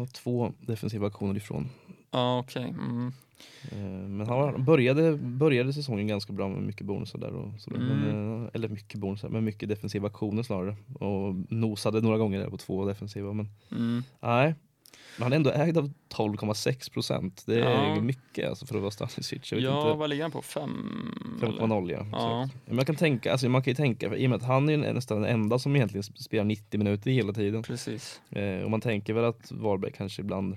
[SPEAKER 2] och två defensiva aktioner ifrån.
[SPEAKER 3] Ja, okej. Mm.
[SPEAKER 2] Eh, Men han var- började, började säsongen ganska bra med mycket bonusar där och sådär. Men,
[SPEAKER 3] Mm.
[SPEAKER 2] eh, eller mycket bonusar, men mycket defensiva aktioner snarare. Och nosade några gånger där på två defensiva. Men
[SPEAKER 3] Mm.
[SPEAKER 2] nej, men han är ändå ägd av 12,6 procent. Det är
[SPEAKER 3] Ja.
[SPEAKER 2] mycket alltså för att vara Stanisic. Jag vet
[SPEAKER 3] Ja,
[SPEAKER 2] inte.
[SPEAKER 3] vad ligger han på? Fem? eller?
[SPEAKER 2] 5,0 ja.
[SPEAKER 3] Ja.
[SPEAKER 2] exakt. Men jag kan tänka, alltså man kan ju tänka, för i och med att han är ju nästan den enda som egentligen spelar 90 minuter hela tiden.
[SPEAKER 3] Precis.
[SPEAKER 2] Eh, och man tänker väl att Varberg kanske ibland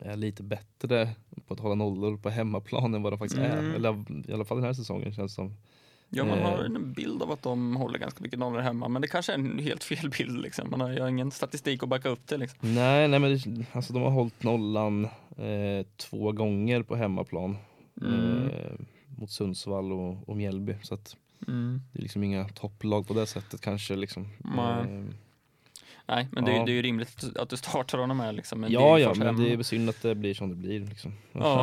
[SPEAKER 2] är lite bättre på att hålla nollor på hemmaplan än vad de faktiskt är.
[SPEAKER 3] Mm.
[SPEAKER 2] Eller i alla fall den här säsongen känns det som.
[SPEAKER 3] Ja, man har
[SPEAKER 2] Eh.
[SPEAKER 3] en bild av att de håller ganska mycket nollor hemma, men det kanske är en helt fel bild. Liksom. Man har, jag har ingen statistik att backa upp det. Liksom.
[SPEAKER 2] Nej, nej men det, alltså de har hållit nollan eh, två gånger på hemmaplan.
[SPEAKER 3] Mm.
[SPEAKER 2] Eh, mot Sundsvall och, och Mjällby. Så att
[SPEAKER 3] Mm.
[SPEAKER 2] det är liksom inga topplag på det sättet kanske. Liksom.
[SPEAKER 3] Nej.
[SPEAKER 2] Eh,
[SPEAKER 3] Nej, men det, är-
[SPEAKER 2] Ja.
[SPEAKER 3] det är ju rimligt att du startar honom här. Liksom, men
[SPEAKER 2] ja,
[SPEAKER 3] det är
[SPEAKER 2] ja,
[SPEAKER 3] först
[SPEAKER 2] men
[SPEAKER 3] hemma.
[SPEAKER 2] det är synd att det blir som det blir. Liksom.
[SPEAKER 3] Ja.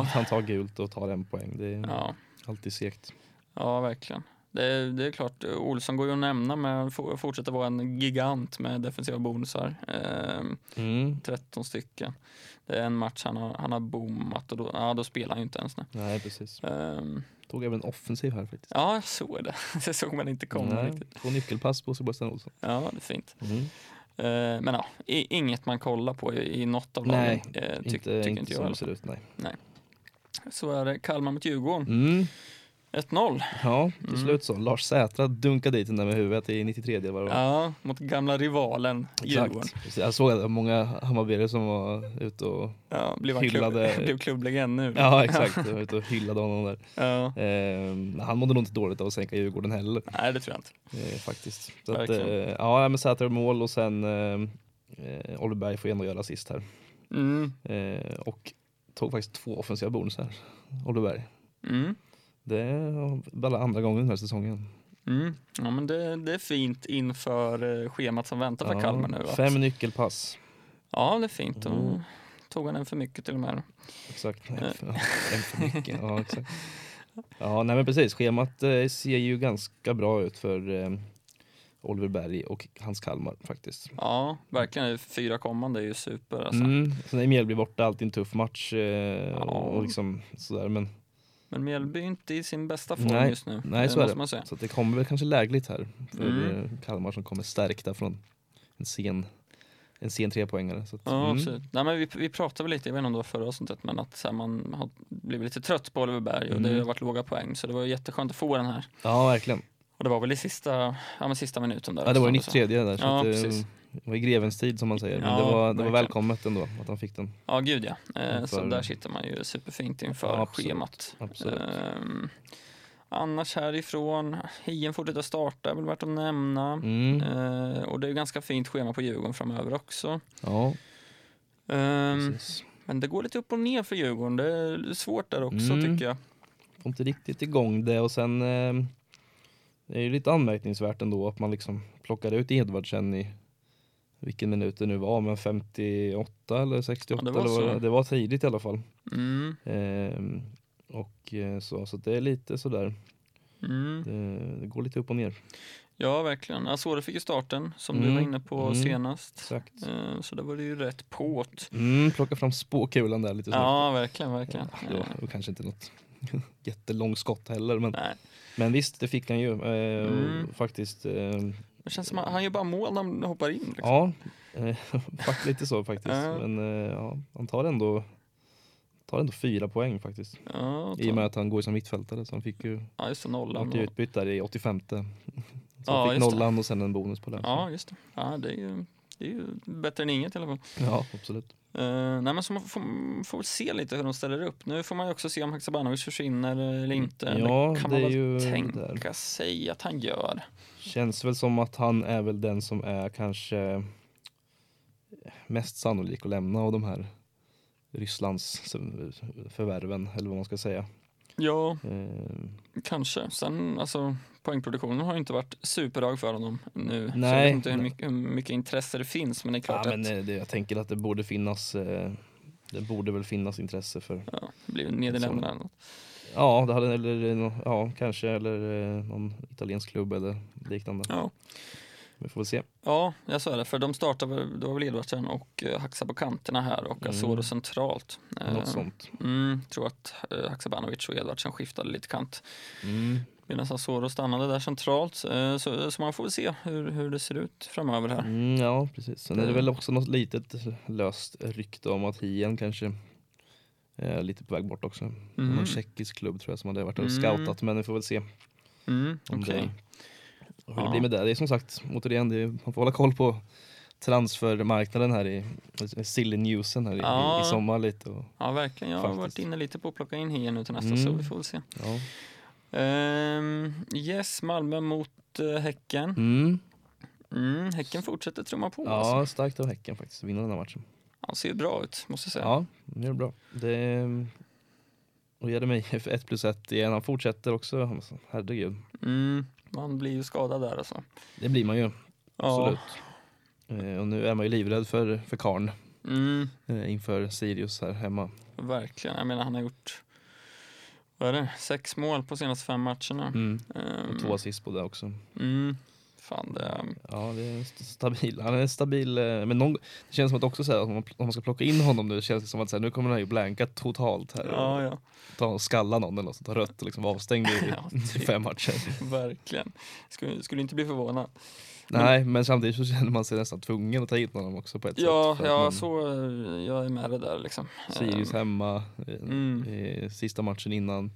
[SPEAKER 2] Att han tar gult och tar en poäng. Det är
[SPEAKER 3] ja,
[SPEAKER 2] alltid segt.
[SPEAKER 3] ja, verkligen. Det, är- det är klart, Olsson går ju att nämna, men for- fortsätter vara en gigant med defensiva bonusar. Ehm,
[SPEAKER 2] Mm.
[SPEAKER 3] 13 stycken. Det är en match han har, han har bommat och då, ja, då spelar han ju inte ens. Nu.
[SPEAKER 2] Nej, precis.
[SPEAKER 3] Ehm,
[SPEAKER 2] Tog även offensiv här faktiskt.
[SPEAKER 3] ja, jag såg det. Det såg man inte komma
[SPEAKER 2] Nej,
[SPEAKER 3] riktigt. Mm.
[SPEAKER 2] Två nyckelpass på Sebastian Olsson.
[SPEAKER 3] Ja, det är fint. Eh, men ja, i, inget man kollar på i, i något av
[SPEAKER 2] Nej,
[SPEAKER 3] lagen. eh, tyck-
[SPEAKER 2] inte
[SPEAKER 3] tycker
[SPEAKER 2] inte,
[SPEAKER 3] inte jag. i
[SPEAKER 2] som
[SPEAKER 3] alla
[SPEAKER 2] det ser ut, nej.
[SPEAKER 3] fall. Så är det Kalmar mot Djurgården.
[SPEAKER 2] Mm.
[SPEAKER 3] 1-0.
[SPEAKER 2] Ja, till
[SPEAKER 3] Mm.
[SPEAKER 2] slut så. Lars Sätra dunkade dit den där med huvudet i 93 var det va?
[SPEAKER 3] Ja, mot gamla rivalen Djurgården.
[SPEAKER 2] Exakt. Så Jag såg att det var många Hammarbyare som var ute och,
[SPEAKER 3] Ja, blev, han klubb,
[SPEAKER 2] Hyllade-
[SPEAKER 3] blev klubblegend nu.
[SPEAKER 2] ja, exakt, de var ute och hyllade honom där.
[SPEAKER 3] Ja.
[SPEAKER 2] Eh, han mådde nog inte dåligt av att sänka Djurgården heller
[SPEAKER 3] Nej, det tror jag inte.
[SPEAKER 2] eh, faktiskt. Så att, eh,
[SPEAKER 3] Verkligen.
[SPEAKER 2] ja, men Sätra gör mål och sen eh, eh, Oliver Berg får ju ändå göra assist här.
[SPEAKER 3] Mm.
[SPEAKER 2] Eh, och tog faktiskt två offensiva bonusar, Oliver Berg.
[SPEAKER 3] Mm.
[SPEAKER 2] Det är bara andra gången den här säsongen.
[SPEAKER 3] Mm. Ja, men det, det är fint inför eh, schemat som väntar för
[SPEAKER 2] Ja,
[SPEAKER 3] Kalmar nu. att-
[SPEAKER 2] Fem nyckelpass.
[SPEAKER 3] Ja, det är fint. Då
[SPEAKER 2] Mm.
[SPEAKER 3] tog han en för mycket till och med.
[SPEAKER 2] Exakt.
[SPEAKER 3] Eh.
[SPEAKER 2] En för- en för mycket. Ja, exakt. Ja, nej men precis. Schemat eh, ser ju ganska bra ut för eh, Oliver Berg och hans Kalmar faktiskt.
[SPEAKER 3] Ja, verkligen. Fyra kommande är ju super. Alltså.
[SPEAKER 2] Mm. Sen är Mjällby borta, alltid en tuff match eh, och
[SPEAKER 3] Ja.
[SPEAKER 2] liksom sådär. Men,
[SPEAKER 3] Men Mjällby är inte i sin bästa form
[SPEAKER 2] Nej.
[SPEAKER 3] just nu.
[SPEAKER 2] Nej,
[SPEAKER 3] det
[SPEAKER 2] så är
[SPEAKER 3] måste
[SPEAKER 2] det.
[SPEAKER 3] man säga.
[SPEAKER 2] så att det kommer väl kanske lägligt här för
[SPEAKER 3] Mm.
[SPEAKER 2] eh, Kalmar som kommer stärkta från en sen, en sen trepoängare. Så att, Mm.
[SPEAKER 3] Ja, absolut. Nej, men vi, vi pratade väl lite, jag vet inte om det var förra avsnittet, men att så här, man har blivit lite trött på Oliver Berg och det
[SPEAKER 2] Mm.
[SPEAKER 3] har varit låga poäng. Så det var jätteskönt att få den här.
[SPEAKER 2] ja verkligen.
[SPEAKER 3] Och det var väl i sista, ja, men sista minuten där.
[SPEAKER 2] Ja, det var ju
[SPEAKER 3] som du sa.
[SPEAKER 2] 93 där. Så
[SPEAKER 3] Ja,
[SPEAKER 2] att, eh,
[SPEAKER 3] precis.
[SPEAKER 2] det var i grevens tid som man säger. Men
[SPEAKER 3] Ja,
[SPEAKER 2] det, var, det var
[SPEAKER 3] verkligen.
[SPEAKER 2] välkommet ändå att han fick den.
[SPEAKER 3] Ja, gud ja. Eh, Så
[SPEAKER 2] Inför-
[SPEAKER 3] där sitter man ju superfint inför
[SPEAKER 2] Ja, absolut.
[SPEAKER 3] schemat.
[SPEAKER 2] Absolut.
[SPEAKER 3] Ehm, Annars härifrån, Hien fortsätter starta, är väl värt att nämna.
[SPEAKER 2] Mm.
[SPEAKER 3] Eh, och det är ju ganska fint schema på Djurgården framöver också.
[SPEAKER 2] Ja,
[SPEAKER 3] Ehm,
[SPEAKER 2] precis.
[SPEAKER 3] men det går lite upp och ner för Djurgården. Det är svårt där också
[SPEAKER 2] Mm.
[SPEAKER 3] tycker jag.
[SPEAKER 2] Kom inte riktigt igång det och sen eh, det är ju lite anmärkningsvärt ändå att man liksom plockade ut Edvardsen i vilken minut det nu var, men 58 eller 68
[SPEAKER 3] Ja, det var
[SPEAKER 2] eller vad
[SPEAKER 3] så.
[SPEAKER 2] det var tidigt i alla fall.
[SPEAKER 3] Mm.
[SPEAKER 2] Ehm, och eh, så, så att det är lite sådär,
[SPEAKER 3] Mm.
[SPEAKER 2] det, det går lite upp och ner.
[SPEAKER 3] Ja, verkligen. Asore fick ju starten som du
[SPEAKER 2] Mm.
[SPEAKER 3] var inne på
[SPEAKER 2] Mm.
[SPEAKER 3] senast.
[SPEAKER 2] Exakt.
[SPEAKER 3] Eh, så det var det ju rätt på't.
[SPEAKER 2] Mm, plocka fram spåkulan där lite snabbt.
[SPEAKER 3] Ja, verkligen, verkligen.
[SPEAKER 2] Det
[SPEAKER 3] Eh,
[SPEAKER 2] var- det var kanske inte något jättelångt skott heller, men,
[SPEAKER 3] Nej.
[SPEAKER 2] men visst, det fick han ju eh, och
[SPEAKER 3] Mm.
[SPEAKER 2] faktiskt. Eh,
[SPEAKER 3] Det känns som att han gör bara mål när han hoppar in. Liksom.
[SPEAKER 2] Ja, eh, fakt- lite så faktiskt.
[SPEAKER 3] Ja.
[SPEAKER 2] Men eh, ja, han tar ändå, tar ändå fyra poäng faktiskt.
[SPEAKER 3] Ja,
[SPEAKER 2] I och med
[SPEAKER 3] ta-
[SPEAKER 2] att han går som mittfältare så han fick ju,
[SPEAKER 3] ja just det,
[SPEAKER 2] han
[SPEAKER 3] nollan.
[SPEAKER 2] blev utbytt där i 85. Så han
[SPEAKER 3] Ja,
[SPEAKER 2] fick
[SPEAKER 3] just det.
[SPEAKER 2] nollan och sen en bonus på den.
[SPEAKER 3] Ja, just det. Ja, det är ju, det är ju bättre än inget i alla fall.
[SPEAKER 2] ja absolut.
[SPEAKER 3] Eh, nej, men så man får, får väl se lite hur de ställer upp. Nu får man ju också se om Haksabanovic försvinner eller inte.
[SPEAKER 2] Mm, Ja,
[SPEAKER 3] det kan
[SPEAKER 2] det
[SPEAKER 3] man
[SPEAKER 2] är
[SPEAKER 3] väl
[SPEAKER 2] ju
[SPEAKER 3] tänka
[SPEAKER 2] där.
[SPEAKER 3] sig att han gör.
[SPEAKER 2] Känns väl som att han är väl den som är kanske mest sannolik att lämna av de här Rysslands förvärven eller vad man ska säga.
[SPEAKER 3] Ja,
[SPEAKER 2] Eh,
[SPEAKER 3] kanske. Sen, alltså, poängproduktionen har ju inte varit superhög för honom nu. Så jag
[SPEAKER 2] Nej.
[SPEAKER 3] vet inte hur mycket, hur mycket intresse det finns, men det är
[SPEAKER 2] Ja,
[SPEAKER 3] klart
[SPEAKER 2] men
[SPEAKER 3] att
[SPEAKER 2] eh, det, jag tänker att det borde finnas eh, Det borde väl finnas intresse för
[SPEAKER 3] ja, det blir Nederländerna. eller något.
[SPEAKER 2] Ja, det hade, eller, eh, nå- ja kanske eller eh, någon italiensk klubb eller liknande.
[SPEAKER 3] Ja.
[SPEAKER 2] Vi får väl se.
[SPEAKER 3] Ja, jag sa det, för de startar väl- det var väl Edvardsen och eh, Haxa på kanterna här och
[SPEAKER 2] Mm.
[SPEAKER 3] Asoro centralt. Eh,
[SPEAKER 2] Något sånt.
[SPEAKER 3] Mm, tror att eh, Haksabanovic och Edvardsen skiftade lite kant.
[SPEAKER 2] Mm.
[SPEAKER 3] Medan Asoro stannade där centralt. eh, Så, så man får väl se hur, hur det ser ut framöver här.
[SPEAKER 2] Mm, ja, precis. Sen är det
[SPEAKER 3] Eh.
[SPEAKER 2] väl också något litet löst rykte om att Hien kanske eh, är lite på väg bort också.
[SPEAKER 3] Mm.
[SPEAKER 2] Någon tjeckisk klubb tror jag som hade varit och
[SPEAKER 3] Mm.
[SPEAKER 2] scoutat men vi får väl se om
[SPEAKER 3] Mm, Okej.
[SPEAKER 2] det, hur det
[SPEAKER 3] Ja.
[SPEAKER 2] blir med det. Det är som sagt, återigen, det är, man får hålla koll på transfermarknaden här i i silly newsen här i,
[SPEAKER 3] Ja.
[SPEAKER 2] i sommar lite. Och,
[SPEAKER 3] Ja, verkligen. Jag har
[SPEAKER 2] Faktiskt.
[SPEAKER 3] varit inne lite på att plocka in Hien nu till nästa,
[SPEAKER 2] Mm.
[SPEAKER 3] så vi får väl se.
[SPEAKER 2] ja.
[SPEAKER 3] Ehm, yes, Malmö mot eh, Häcken.
[SPEAKER 2] Mm.
[SPEAKER 3] Mm, häcken fortsätter trumma på. Alltså.
[SPEAKER 2] Ja, starkt av Häcken faktiskt, att vinna den här matchen.
[SPEAKER 3] Han ser ju bra ut, måste jag säga.
[SPEAKER 2] Ja, det gör det bra. Det... Och Jeremy för 1 plus 1 igen, han fortsätter också. Alltså, Herregud,
[SPEAKER 3] Mm, man blir ju skadad där alltså.
[SPEAKER 2] det blir man ju.
[SPEAKER 3] Ja.
[SPEAKER 2] Absolut. Eh, Och nu är man ju livrädd för, för karn
[SPEAKER 3] Mm,
[SPEAKER 2] eh, inför Sirius här hemma.
[SPEAKER 3] verkligen. Jag menar, han har gjort vad är det? sex mål på senaste fem matcherna.
[SPEAKER 2] Mm.
[SPEAKER 3] Ehm,
[SPEAKER 2] Och två assist på det också.
[SPEAKER 3] Mm, fan, det,
[SPEAKER 2] Ja, det är st- stabil. Han är stabil. eh, Men någon... det känns som att också så här, om man pl- om man ska plocka in honom nu, känns det som att så här, nu kommer han ju blanka totalt här.
[SPEAKER 3] ja, ja.
[SPEAKER 2] Ta och skalla någon eller något, ta rött och liksom vara avstängd i
[SPEAKER 3] Ja, typ.
[SPEAKER 2] fem matcher.
[SPEAKER 3] Verkligen. Skulle, skulle inte bli förvånad.
[SPEAKER 2] Typ
[SPEAKER 3] Mm.
[SPEAKER 2] Nej, men samtidigt så känner man sig nästan tvungen att ta hit honom också på ett
[SPEAKER 3] Ja,
[SPEAKER 2] sätt. för att
[SPEAKER 3] ja
[SPEAKER 2] man-
[SPEAKER 3] så, eh, jag är med det där liksom.
[SPEAKER 2] Sirius
[SPEAKER 3] Ehm,
[SPEAKER 2] hemma, eh,
[SPEAKER 3] Mm.
[SPEAKER 2] eh, sista matchen innan,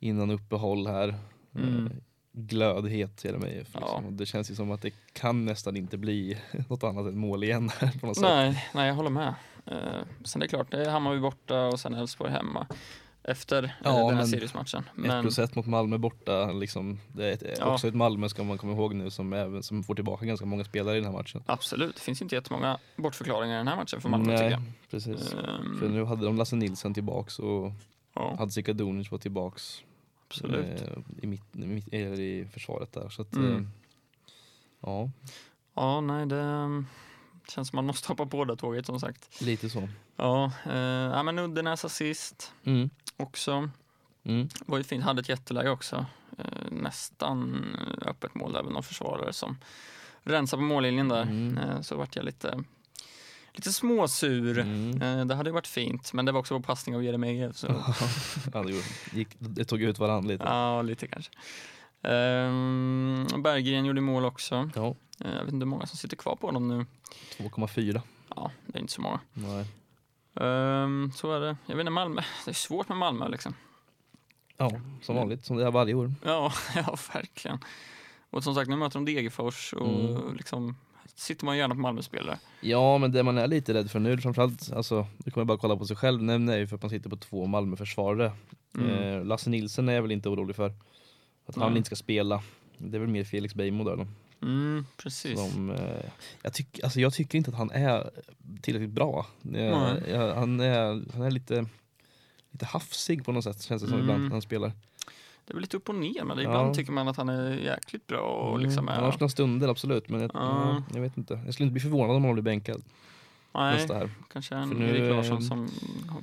[SPEAKER 2] innan uppehåll här.
[SPEAKER 3] Mm.
[SPEAKER 2] Eh, glödhet ger det mig. Liksom.
[SPEAKER 3] Ja.
[SPEAKER 2] Och Det känns ju som att det kan nästan inte bli något annat än mål igen här på något sätt.
[SPEAKER 3] Nej, nej, jag håller med. Eh, sen det är klart, det är Hammarby borta och sen Elfsborg hemma efter eh,
[SPEAKER 2] Ja,
[SPEAKER 3] den här
[SPEAKER 2] men-
[SPEAKER 3] Sirius-matchen.
[SPEAKER 2] 1
[SPEAKER 3] Men
[SPEAKER 2] plus 1 mot Malmö borta, liksom, det är ett,
[SPEAKER 3] Ja.
[SPEAKER 2] också ett Malmö ska man komma ihåg nu som, även, som får tillbaka ganska många spelare i den här matchen.
[SPEAKER 3] absolut, det finns inte jättemånga bortförklaringar i den här matchen för Malmö
[SPEAKER 2] Nej,
[SPEAKER 3] tycker jag.
[SPEAKER 2] precis.
[SPEAKER 3] Ehm,
[SPEAKER 2] För nu hade de Lasse Nilsson tillbaks och
[SPEAKER 3] ja,
[SPEAKER 2] Hadzika Dunic var tillbaks.
[SPEAKER 3] absolut.
[SPEAKER 2] eh, i, mitt, i, mitt, eller i försvaret där. Så att,
[SPEAKER 3] Mm.
[SPEAKER 2] eh, ja,
[SPEAKER 3] Ja, nej, det mm, känns som man måste hoppa på det tåget som sagt.
[SPEAKER 2] lite så.
[SPEAKER 3] Ja, eh, ja men Uddenäs assist
[SPEAKER 2] Mm.
[SPEAKER 3] också.
[SPEAKER 2] Mm.
[SPEAKER 3] Var ju fint, hade ett jätteläge också. Eh, nästan öppet mål, även någon försvarare som rensade på mållinjen där.
[SPEAKER 2] Mm.
[SPEAKER 3] Eh, så vart jag lite, lite småsur.
[SPEAKER 2] Mm.
[SPEAKER 3] Eh, Det hade ju varit fint, men det var också på passning av Jeremejeff. Så.
[SPEAKER 2] Ja, det, gjorde- gick, det tog ut varandra lite.
[SPEAKER 3] ja, lite kanske. Ehm, Berggren gjorde mål också.
[SPEAKER 2] Ja,
[SPEAKER 3] Eh, Jag vet inte hur många som sitter kvar på honom nu.
[SPEAKER 2] 2,4.
[SPEAKER 3] Ja, det är inte så många.
[SPEAKER 2] Nej.
[SPEAKER 3] Ehm, så är det. Jag vet inte, Malmö. Det är svårt med Malmö liksom.
[SPEAKER 2] Ja, som vanligt, som det är varje år.
[SPEAKER 3] Ja, ja verkligen. Och som sagt, nu möter de Degerfors och
[SPEAKER 2] Mm.
[SPEAKER 3] liksom sitter man gärna på Malmöspelare.
[SPEAKER 2] Ja, men det man är lite rädd för nu, framförallt, alltså, nu kommer jag bara kolla på sig själv, nämner är ju för att man sitter på två Malmöförsvarare Eh, Lasse Nilsen är jag väl inte orolig för. Att han
[SPEAKER 3] Nej.
[SPEAKER 2] inte ska spela. Det är väl mer Felix Beijmo där då.
[SPEAKER 3] Mm, precis.
[SPEAKER 2] Som, eh, jag, tyck, alltså jag tycker inte att han är tillräckligt bra. Jag,
[SPEAKER 3] Nej.
[SPEAKER 2] jag, han, är, han är lite, lite hafsig på något sätt känns det som ibland
[SPEAKER 3] Mm.
[SPEAKER 2] när han spelar.
[SPEAKER 3] Det är väl lite upp och ner med det.
[SPEAKER 2] Ja.
[SPEAKER 3] Ibland tycker man att han är jäkligt bra och
[SPEAKER 2] Mm,
[SPEAKER 3] liksom
[SPEAKER 2] Han har
[SPEAKER 3] är...
[SPEAKER 2] sina stunder absolut men jag,
[SPEAKER 3] Ja.
[SPEAKER 2] ja, jag vet inte. Jag skulle inte bli förvånad om han blir bänkad
[SPEAKER 3] Nej, typ.
[SPEAKER 2] nästa här.
[SPEAKER 3] kanske en
[SPEAKER 2] för nu-
[SPEAKER 3] Erik Larsson som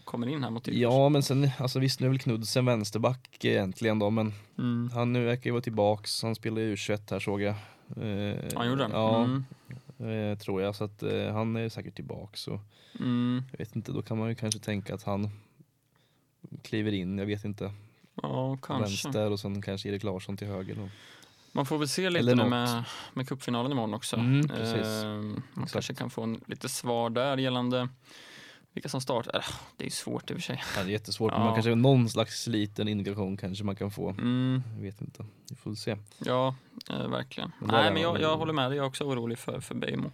[SPEAKER 3] kommer in här mot Djurgården.
[SPEAKER 2] Ja men sen, alltså visst nu är väl Knudsen vänsterback egentligen då men
[SPEAKER 3] Mm.
[SPEAKER 2] han nu verkar ju vara tillbaks. Han spelar ju U21 här såg jag. Eh,
[SPEAKER 3] Han gjorde den?
[SPEAKER 2] Ja,
[SPEAKER 3] Mm.
[SPEAKER 2] eh, tror jag. Så att eh, han är säkert tillbaks. Och
[SPEAKER 3] Mm.
[SPEAKER 2] jag vet inte, då kan man ju kanske tänka att han kliver in, jag vet inte,
[SPEAKER 3] Ja, kanske.
[SPEAKER 2] vänster och sen kanske Erik Larsson till höger. Då.
[SPEAKER 3] Man får väl se lite
[SPEAKER 2] Eller
[SPEAKER 3] nu
[SPEAKER 2] något.
[SPEAKER 3] med, med cupfinalen imorgon också.
[SPEAKER 2] Mm, precis.
[SPEAKER 3] Ehm, man
[SPEAKER 2] Exakt.
[SPEAKER 3] kanske kan få en, lite svar där gällande vilka som startar. Äh, Det är ju svårt i och för sig.
[SPEAKER 2] Ja, Det är jättesvårt, men
[SPEAKER 3] Ja.
[SPEAKER 2] man kanske någon slags liten indikation kanske man kan få.
[SPEAKER 3] Mm,
[SPEAKER 2] Jag vet inte, vi får se.
[SPEAKER 3] ja, eh, verkligen.
[SPEAKER 2] Men där
[SPEAKER 3] Nej,
[SPEAKER 2] är
[SPEAKER 3] men
[SPEAKER 2] man
[SPEAKER 3] jag,
[SPEAKER 2] ju-
[SPEAKER 3] jag håller med dig. Jag är också orolig för, för Bejmo.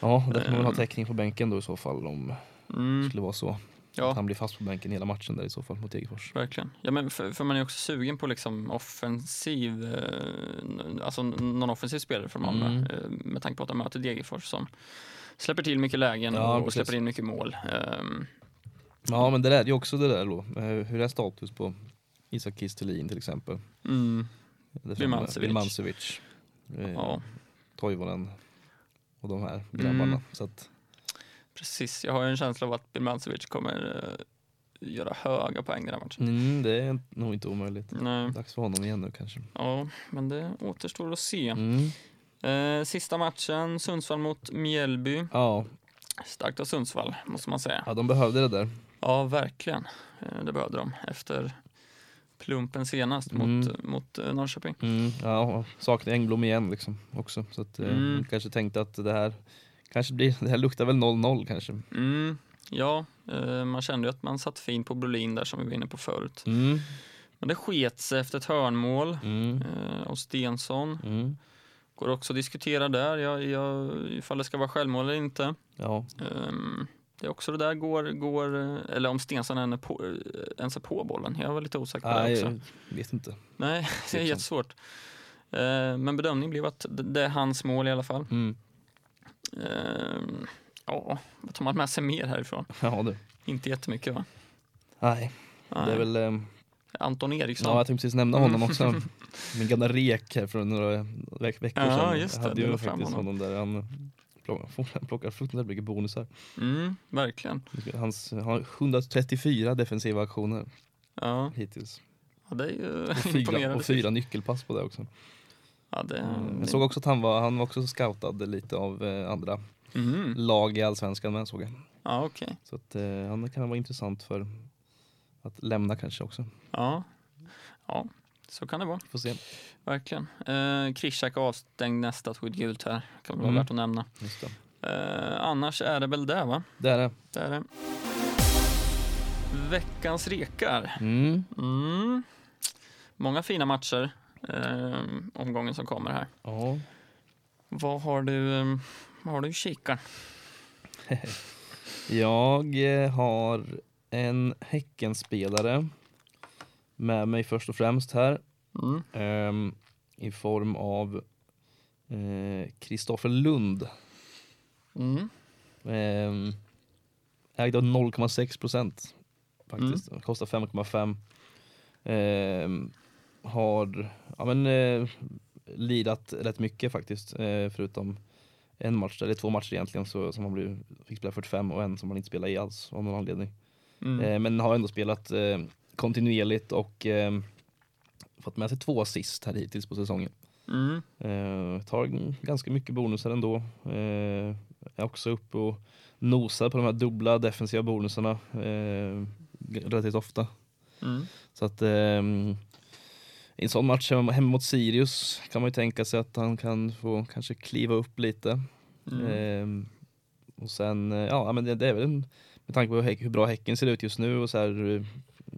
[SPEAKER 2] Ja, där får man väl ha
[SPEAKER 3] Ehm.
[SPEAKER 2] täckning på bänken då i så fall om det
[SPEAKER 3] Mm,
[SPEAKER 2] skulle vara så. Att
[SPEAKER 3] ja,
[SPEAKER 2] han blir fast på bänken hela matchen där i så fall mot Degerfors.
[SPEAKER 3] verkligen. Ja, men för, för man är ju också sugen på liksom offensiv, eh, n- alltså n- någon offensiv spelare från Malmö
[SPEAKER 2] Mm.
[SPEAKER 3] eh, med tanke på att de möter Degerfors som släpper till mycket lägen
[SPEAKER 2] Ja,
[SPEAKER 3] och
[SPEAKER 2] precis.
[SPEAKER 3] släpper in mycket mål. Ehm,
[SPEAKER 2] Ja, men det där är ju också det där då. Eh, Hur är status på Isak Kistelin till exempel?
[SPEAKER 3] mm,
[SPEAKER 2] Där framme.
[SPEAKER 3] Birmancevic.
[SPEAKER 2] Birmancevic. Eh,
[SPEAKER 3] ja.
[SPEAKER 2] Toivonen och de här grabbarna.
[SPEAKER 3] Mm.
[SPEAKER 2] Så att,
[SPEAKER 3] Precis, jag har ju en känsla av att Birmancevic kommer eh, göra höga poäng i den här matchen.
[SPEAKER 2] mm, det är nog inte omöjligt.
[SPEAKER 3] Nej,
[SPEAKER 2] Dags för honom igen nu kanske.
[SPEAKER 3] ja, men det återstår att se.
[SPEAKER 2] Mm.
[SPEAKER 3] Eh, sista matchen, Sundsvall mot Mjällby.
[SPEAKER 2] Ja,
[SPEAKER 3] Starkt av Sundsvall, måste man säga.
[SPEAKER 2] ja, de behövde det där.
[SPEAKER 3] Ja, verkligen. Eh, det behövde de efter plumpen senast mot, mot eh, Norrköping.
[SPEAKER 2] Mm. Ja, och saknade Engblom igen liksom också. Så att, eh,
[SPEAKER 3] Mm.
[SPEAKER 2] de kanske tänkte att det här kanske blir, det här luktar väl 0-0 kanske.
[SPEAKER 3] Mm, ja, eh, man kände ju att man satt fint på Brolin där som vi var inne på förut.
[SPEAKER 2] Mm.
[SPEAKER 3] Men det sket sig efter ett hörnmål
[SPEAKER 2] Mm.
[SPEAKER 3] eh, av Stensson.
[SPEAKER 2] Mm.
[SPEAKER 3] Går också att diskutera där, jag, jag, ifall det ska vara självmål eller inte.
[SPEAKER 2] Ja,
[SPEAKER 3] Ehm, det är också det där går, går eller om Stensson än är på, eh, ens är på bollen. Jag var lite osäker på det
[SPEAKER 2] Nej, liksom-
[SPEAKER 3] också.
[SPEAKER 2] jag vet inte.
[SPEAKER 3] Nej, det är
[SPEAKER 2] Tveksamt.
[SPEAKER 3] jättesvårt. Ehm, men bedömningen blev att det, det är hans mål i alla fall.
[SPEAKER 2] Mm.
[SPEAKER 3] Ehm, ja, vad tar man med sig mer härifrån?
[SPEAKER 2] Ja du.
[SPEAKER 3] Inte jättemycket va?
[SPEAKER 2] Nej,
[SPEAKER 3] Nej.
[SPEAKER 2] det är väl... ehm,
[SPEAKER 3] Anton Eriksson.
[SPEAKER 2] Ja, jag tänkte precis nämna honom också. Min gamla rek här för några veck- veckor
[SPEAKER 3] Ja,
[SPEAKER 2] sedan.
[SPEAKER 3] just det,
[SPEAKER 2] jag hade
[SPEAKER 3] du la
[SPEAKER 2] ju
[SPEAKER 3] fram
[SPEAKER 2] faktiskt
[SPEAKER 3] honom.
[SPEAKER 2] honom där. Han plockar, plockar fruktansvärt mycket bonusar.
[SPEAKER 3] Mm, verkligen.
[SPEAKER 2] Hans, han har 134 defensiva aktioner
[SPEAKER 3] Ja,
[SPEAKER 2] hittills.
[SPEAKER 3] ja, det är ju
[SPEAKER 2] Och fyra,
[SPEAKER 3] imponerande.
[SPEAKER 2] och fyra nyckelpass på det också.
[SPEAKER 3] Ja, det,
[SPEAKER 2] Mm. Jag såg också att han var, han var också scoutad lite av eh, andra
[SPEAKER 3] Mm.
[SPEAKER 2] lag i Allsvenskan med såg jag.
[SPEAKER 3] Ja, okej.
[SPEAKER 2] Så att, eh, han kan vara intressant för att lämna kanske också.
[SPEAKER 3] Ja. ja, så kan det vara.
[SPEAKER 2] Får se.
[SPEAKER 3] Verkligen. Eh, Krishak avstängd nästa tog ett gult här. Kan väl vara
[SPEAKER 2] Mm.
[SPEAKER 3] värt att nämna.
[SPEAKER 2] Just det.
[SPEAKER 3] Eh, annars är det väl det, va?
[SPEAKER 2] det är det.
[SPEAKER 3] Det är det. Veckans rekar.
[SPEAKER 2] Mm.
[SPEAKER 3] Mm. Många fina matcher eh, omgången som kommer här.
[SPEAKER 2] Ja.
[SPEAKER 3] Vad har du, eh, vad har du i kikaren?
[SPEAKER 2] Jag eh, har en Häckenspelare med mig först och främst här
[SPEAKER 3] Mm.
[SPEAKER 2] ehm, i form av eh, Kristoffer Lund.
[SPEAKER 3] Mm.
[SPEAKER 2] Ehm, ägd av 0,6 procent faktiskt. Kostar 5,5. Ehm, har ja, men, eh, lidat rätt mycket faktiskt eh, förutom en match, eller två matcher egentligen så, som han blev, fick spela 45 och en som han inte spelade i alls av någon anledning.
[SPEAKER 3] Mm.
[SPEAKER 2] Eh, men har ändå spelat eh, kontinuerligt och eh, fått med sig två assist här hittills på säsongen.
[SPEAKER 3] Mm.
[SPEAKER 2] Eh, tar g- ganska mycket bonusar ändå. Eh, är också uppe och nosar på de här dubbla defensiva bonusarna eh, g- relativt ofta.
[SPEAKER 3] Mm.
[SPEAKER 2] Så att ehm, i en sån match hemma hemma mot Sirius kan man ju tänka sig att han kan få kanske kliva upp lite.
[SPEAKER 3] Mm.
[SPEAKER 2] Ehm, och sen, eh, ja men det, det är väl en, med tanke på hur, Häck- hur bra Häcken ser ut just nu och så här eh,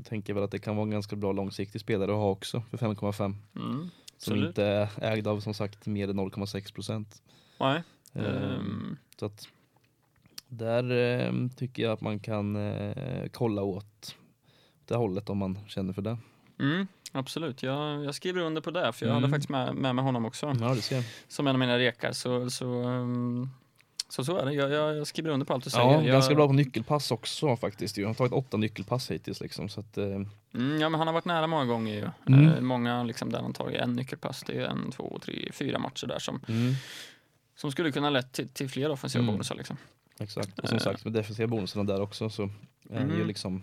[SPEAKER 2] tänker jag väl att det kan vara en ganska bra långsiktig spelare att ha också för 5,5.
[SPEAKER 3] Mm.
[SPEAKER 2] Som
[SPEAKER 3] Absolut.
[SPEAKER 2] inte är ägd av som sagt mer än 0,6 procent.
[SPEAKER 3] Nej.
[SPEAKER 2] Ehm,
[SPEAKER 3] Ehm,
[SPEAKER 2] så att där ehm, tycker jag att man kan eh, kolla åt det hållet om man känner för det.
[SPEAKER 3] Mm, absolut, jag, jag skriver under på det, för jag hade
[SPEAKER 2] Mm.
[SPEAKER 3] faktiskt med, med mig honom också
[SPEAKER 2] Ja, du ser.
[SPEAKER 3] som en av mina rekar. Så, så, ehm, så, så är det, jag, jag, jag skriver under på allt du säger.
[SPEAKER 2] Ja,
[SPEAKER 3] jag,
[SPEAKER 2] ganska bra på nyckelpass också faktiskt. ju. Han har tagit åtta nyckelpass hittills liksom. Så att, eh,
[SPEAKER 3] Mm, ja, men han har varit nära många gånger ju.
[SPEAKER 2] Mm.
[SPEAKER 3] Eh, många liksom där han tagit en nyckelpass. Det är en, två, tre, fyra matcher där som,
[SPEAKER 2] mm,
[SPEAKER 3] som skulle kunna lett till, till fler offensiva
[SPEAKER 2] Mm.
[SPEAKER 3] bonusar. Liksom.
[SPEAKER 2] exakt. Och som sagt med defensiva bonusarna där också så är han ju
[SPEAKER 3] Mm.
[SPEAKER 2] liksom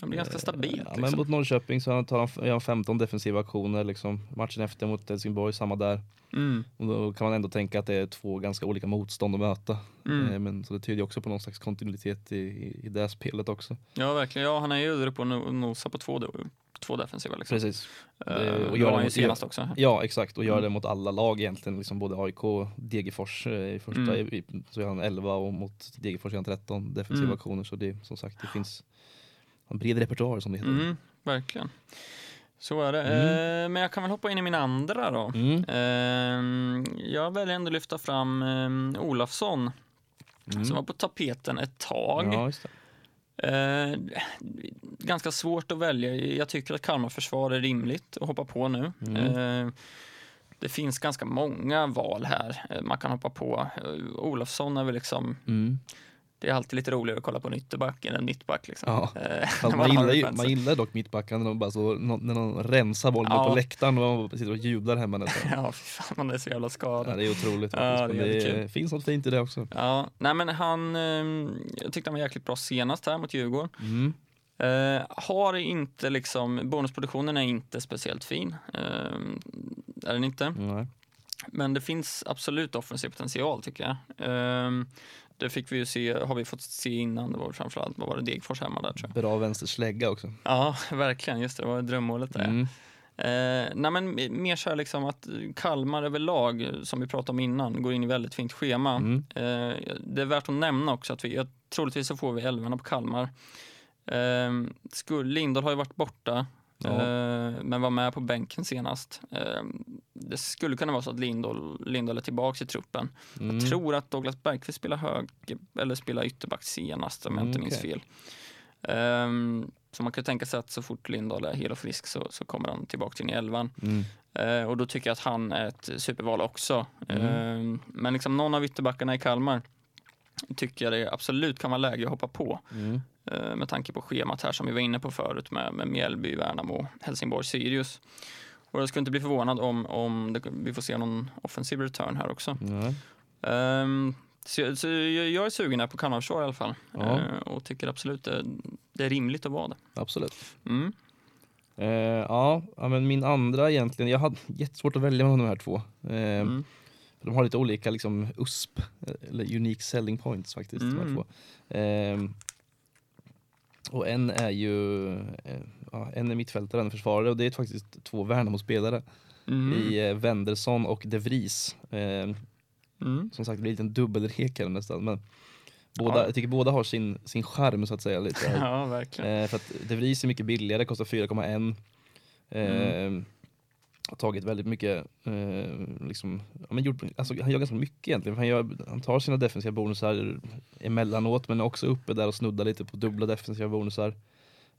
[SPEAKER 3] Det blir ganska stabilt.
[SPEAKER 2] Eh, Ja,
[SPEAKER 3] liksom.
[SPEAKER 2] men mot Norrköping så tar han, gör han 15 defensiva aktioner liksom. Matchen efter mot Helsingborg, samma där.
[SPEAKER 3] mm.
[SPEAKER 2] Och då kan man ändå tänka att det är två ganska olika motstånd att möta.
[SPEAKER 3] Mm.
[SPEAKER 2] Eh, Men, så det tyder ju också på någon slags kontinuitet i, i, i det spelet också.
[SPEAKER 3] Ja, verkligen. Ja, han är ju uppe och no- nosar på två, do- två defensiva. Liksom.
[SPEAKER 2] Precis.
[SPEAKER 3] Eh,
[SPEAKER 2] och
[SPEAKER 3] det
[SPEAKER 2] gör
[SPEAKER 3] var han
[SPEAKER 2] det
[SPEAKER 3] ju
[SPEAKER 2] mot-
[SPEAKER 3] senast också.
[SPEAKER 2] Ja, exakt. Och gör
[SPEAKER 3] Mm.
[SPEAKER 2] det mot alla lag egentligen. Liksom både AIK och Degerfors. eh, I första
[SPEAKER 3] Mm.
[SPEAKER 2] i, i- så är han 11 och mot Degerfors är han 13 defensiva
[SPEAKER 3] Mm.
[SPEAKER 2] aktioner. Så det som sagt, det finns en bred repertoar som det heter.
[SPEAKER 3] Mm, verkligen. Så är det. Eh, men jag kan väl hoppa in i min andra då.
[SPEAKER 2] Mm.
[SPEAKER 3] Ehm, jag väljer ändå att lyfta fram ehm, Olafsson
[SPEAKER 2] Mm.
[SPEAKER 3] som var på tapeten ett tag.
[SPEAKER 2] Ja, just det.
[SPEAKER 3] Eh, ganska svårt att välja. Jag tycker att Kalmar försvar är rimligt att hoppa på nu.
[SPEAKER 2] Mm.
[SPEAKER 3] Eh, det finns ganska många val här eh, man kan hoppa på. Eh, Olofsson är väl liksom,
[SPEAKER 2] Mm.
[SPEAKER 3] det är alltid lite roligare att kolla på en ytterback än en mittback. Liksom.
[SPEAKER 2] Ja.
[SPEAKER 3] Eh, när
[SPEAKER 2] Fast man,
[SPEAKER 3] har
[SPEAKER 2] gillar
[SPEAKER 3] det
[SPEAKER 2] ju,
[SPEAKER 3] chansen.
[SPEAKER 2] man gillar dock mittbackarna när de bara så, nå- när de rensar bollen
[SPEAKER 3] Ja.
[SPEAKER 2] på läktaren och man sitter och jublar hemma nästan.
[SPEAKER 3] Ja, fy fan, man är så jävla
[SPEAKER 2] Ja,
[SPEAKER 3] skadad.
[SPEAKER 2] det är otroligt
[SPEAKER 3] Ja,
[SPEAKER 2] faktiskt.
[SPEAKER 3] det är
[SPEAKER 2] men det
[SPEAKER 3] jävligt
[SPEAKER 2] finns något fint i det också.
[SPEAKER 3] Ja, nej men han, eh, jag tyckte han var jäkligt bra senast här mot Djurgården.
[SPEAKER 2] Mm.
[SPEAKER 3] Eh, har inte liksom, bonusproduktionen är inte speciellt fin. Eh, är den inte.
[SPEAKER 2] Nej.
[SPEAKER 3] Men det finns absolut offensiv potential tycker jag. Ehm, det fick vi ju se, har vi fått se innan, det var väl framförallt, vad var det, Degerfors hemma där tror jag.
[SPEAKER 2] Bra vänsterslägga också.
[SPEAKER 3] Ja, verkligen, just det, det var drömmålet där.
[SPEAKER 2] Mm.
[SPEAKER 3] Eh, nej men mer så här liksom att Kalmar överlag, eh, som vi pratade om innan, går in i väldigt fint schema.
[SPEAKER 2] Mm.
[SPEAKER 3] Eh, det är värt att nämna också att vi, jag, troligtvis så får vi elvorna på Kalmar. Ehm, skulle, Lindahl har ju varit borta,
[SPEAKER 2] Ja.
[SPEAKER 3] eh, men var med på bänken senast. Ehm, det skulle kunna vara så att Lindahl, Lindahl är tillbaka i truppen.
[SPEAKER 2] Mm.
[SPEAKER 3] Jag tror att Douglas Bergqvist spelar hög, eller spelar ytterback senast om jag
[SPEAKER 2] Mm,
[SPEAKER 3] inte minns
[SPEAKER 2] okej.
[SPEAKER 3] fel. Ehm, så man kan tänka sig att så fort Lindahl är hel och frisk så, så kommer han tillbaka till in i elvan.
[SPEAKER 2] Mm.
[SPEAKER 3] Eh, och då tycker jag att han är ett superval också.
[SPEAKER 2] Mm.
[SPEAKER 3] Ehm, men liksom någon av ytterbackarna i Kalmar tycker jag det absolut kan vara läge att hoppa på.
[SPEAKER 2] Mm.
[SPEAKER 3] Eh, med tanke på schemat här som vi var inne på förut med, med Mjällby, Värnamo, Helsingborg, Sirius. Och jag skulle inte bli förvånad om, om det, vi får se någon offensiv return här också.
[SPEAKER 2] Nej.
[SPEAKER 3] Ehm, så, jag- så jag, jag är sugen här på Kalmarförsvar i alla fall.
[SPEAKER 2] Ja.
[SPEAKER 3] Ehm, och tycker absolut det, det är rimligt att vara det.
[SPEAKER 2] Absolut.
[SPEAKER 3] Mm.
[SPEAKER 2] Eh, ja, ja, men min andra egentligen. Jag hade jättesvårt att välja mellan de här två. Eh,
[SPEAKER 3] Mm.
[SPEAKER 2] för De har lite olika liksom USP, eller unique selling points faktiskt. De här
[SPEAKER 3] Mm.
[SPEAKER 2] två. Eh, och en är ju, eh, ja, en är mittfältare, en är försvarare och det är faktiskt två Värnamo-spelare
[SPEAKER 3] Mm.
[SPEAKER 2] i eh, Wendersson och De Vries. Eh,
[SPEAKER 3] Mm.
[SPEAKER 2] som sagt, det blir en liten dubbelrek här nästan. Men båda,
[SPEAKER 3] Ja.
[SPEAKER 2] Jag tycker båda har sin, sin charm så att säga. Lite här.
[SPEAKER 3] Ja, verkligen.
[SPEAKER 2] Eh, för att De Vries är mycket billigare, kostar 4,1. Eh,
[SPEAKER 3] Mm.
[SPEAKER 2] Har tagit väldigt mycket, eh, liksom, ja, men gjort, alltså, han gör ganska mycket egentligen. För han, gör, han tar sina defensiva bonusar emellanåt men är också uppe där och snuddar lite på dubbla defensiva bonusar.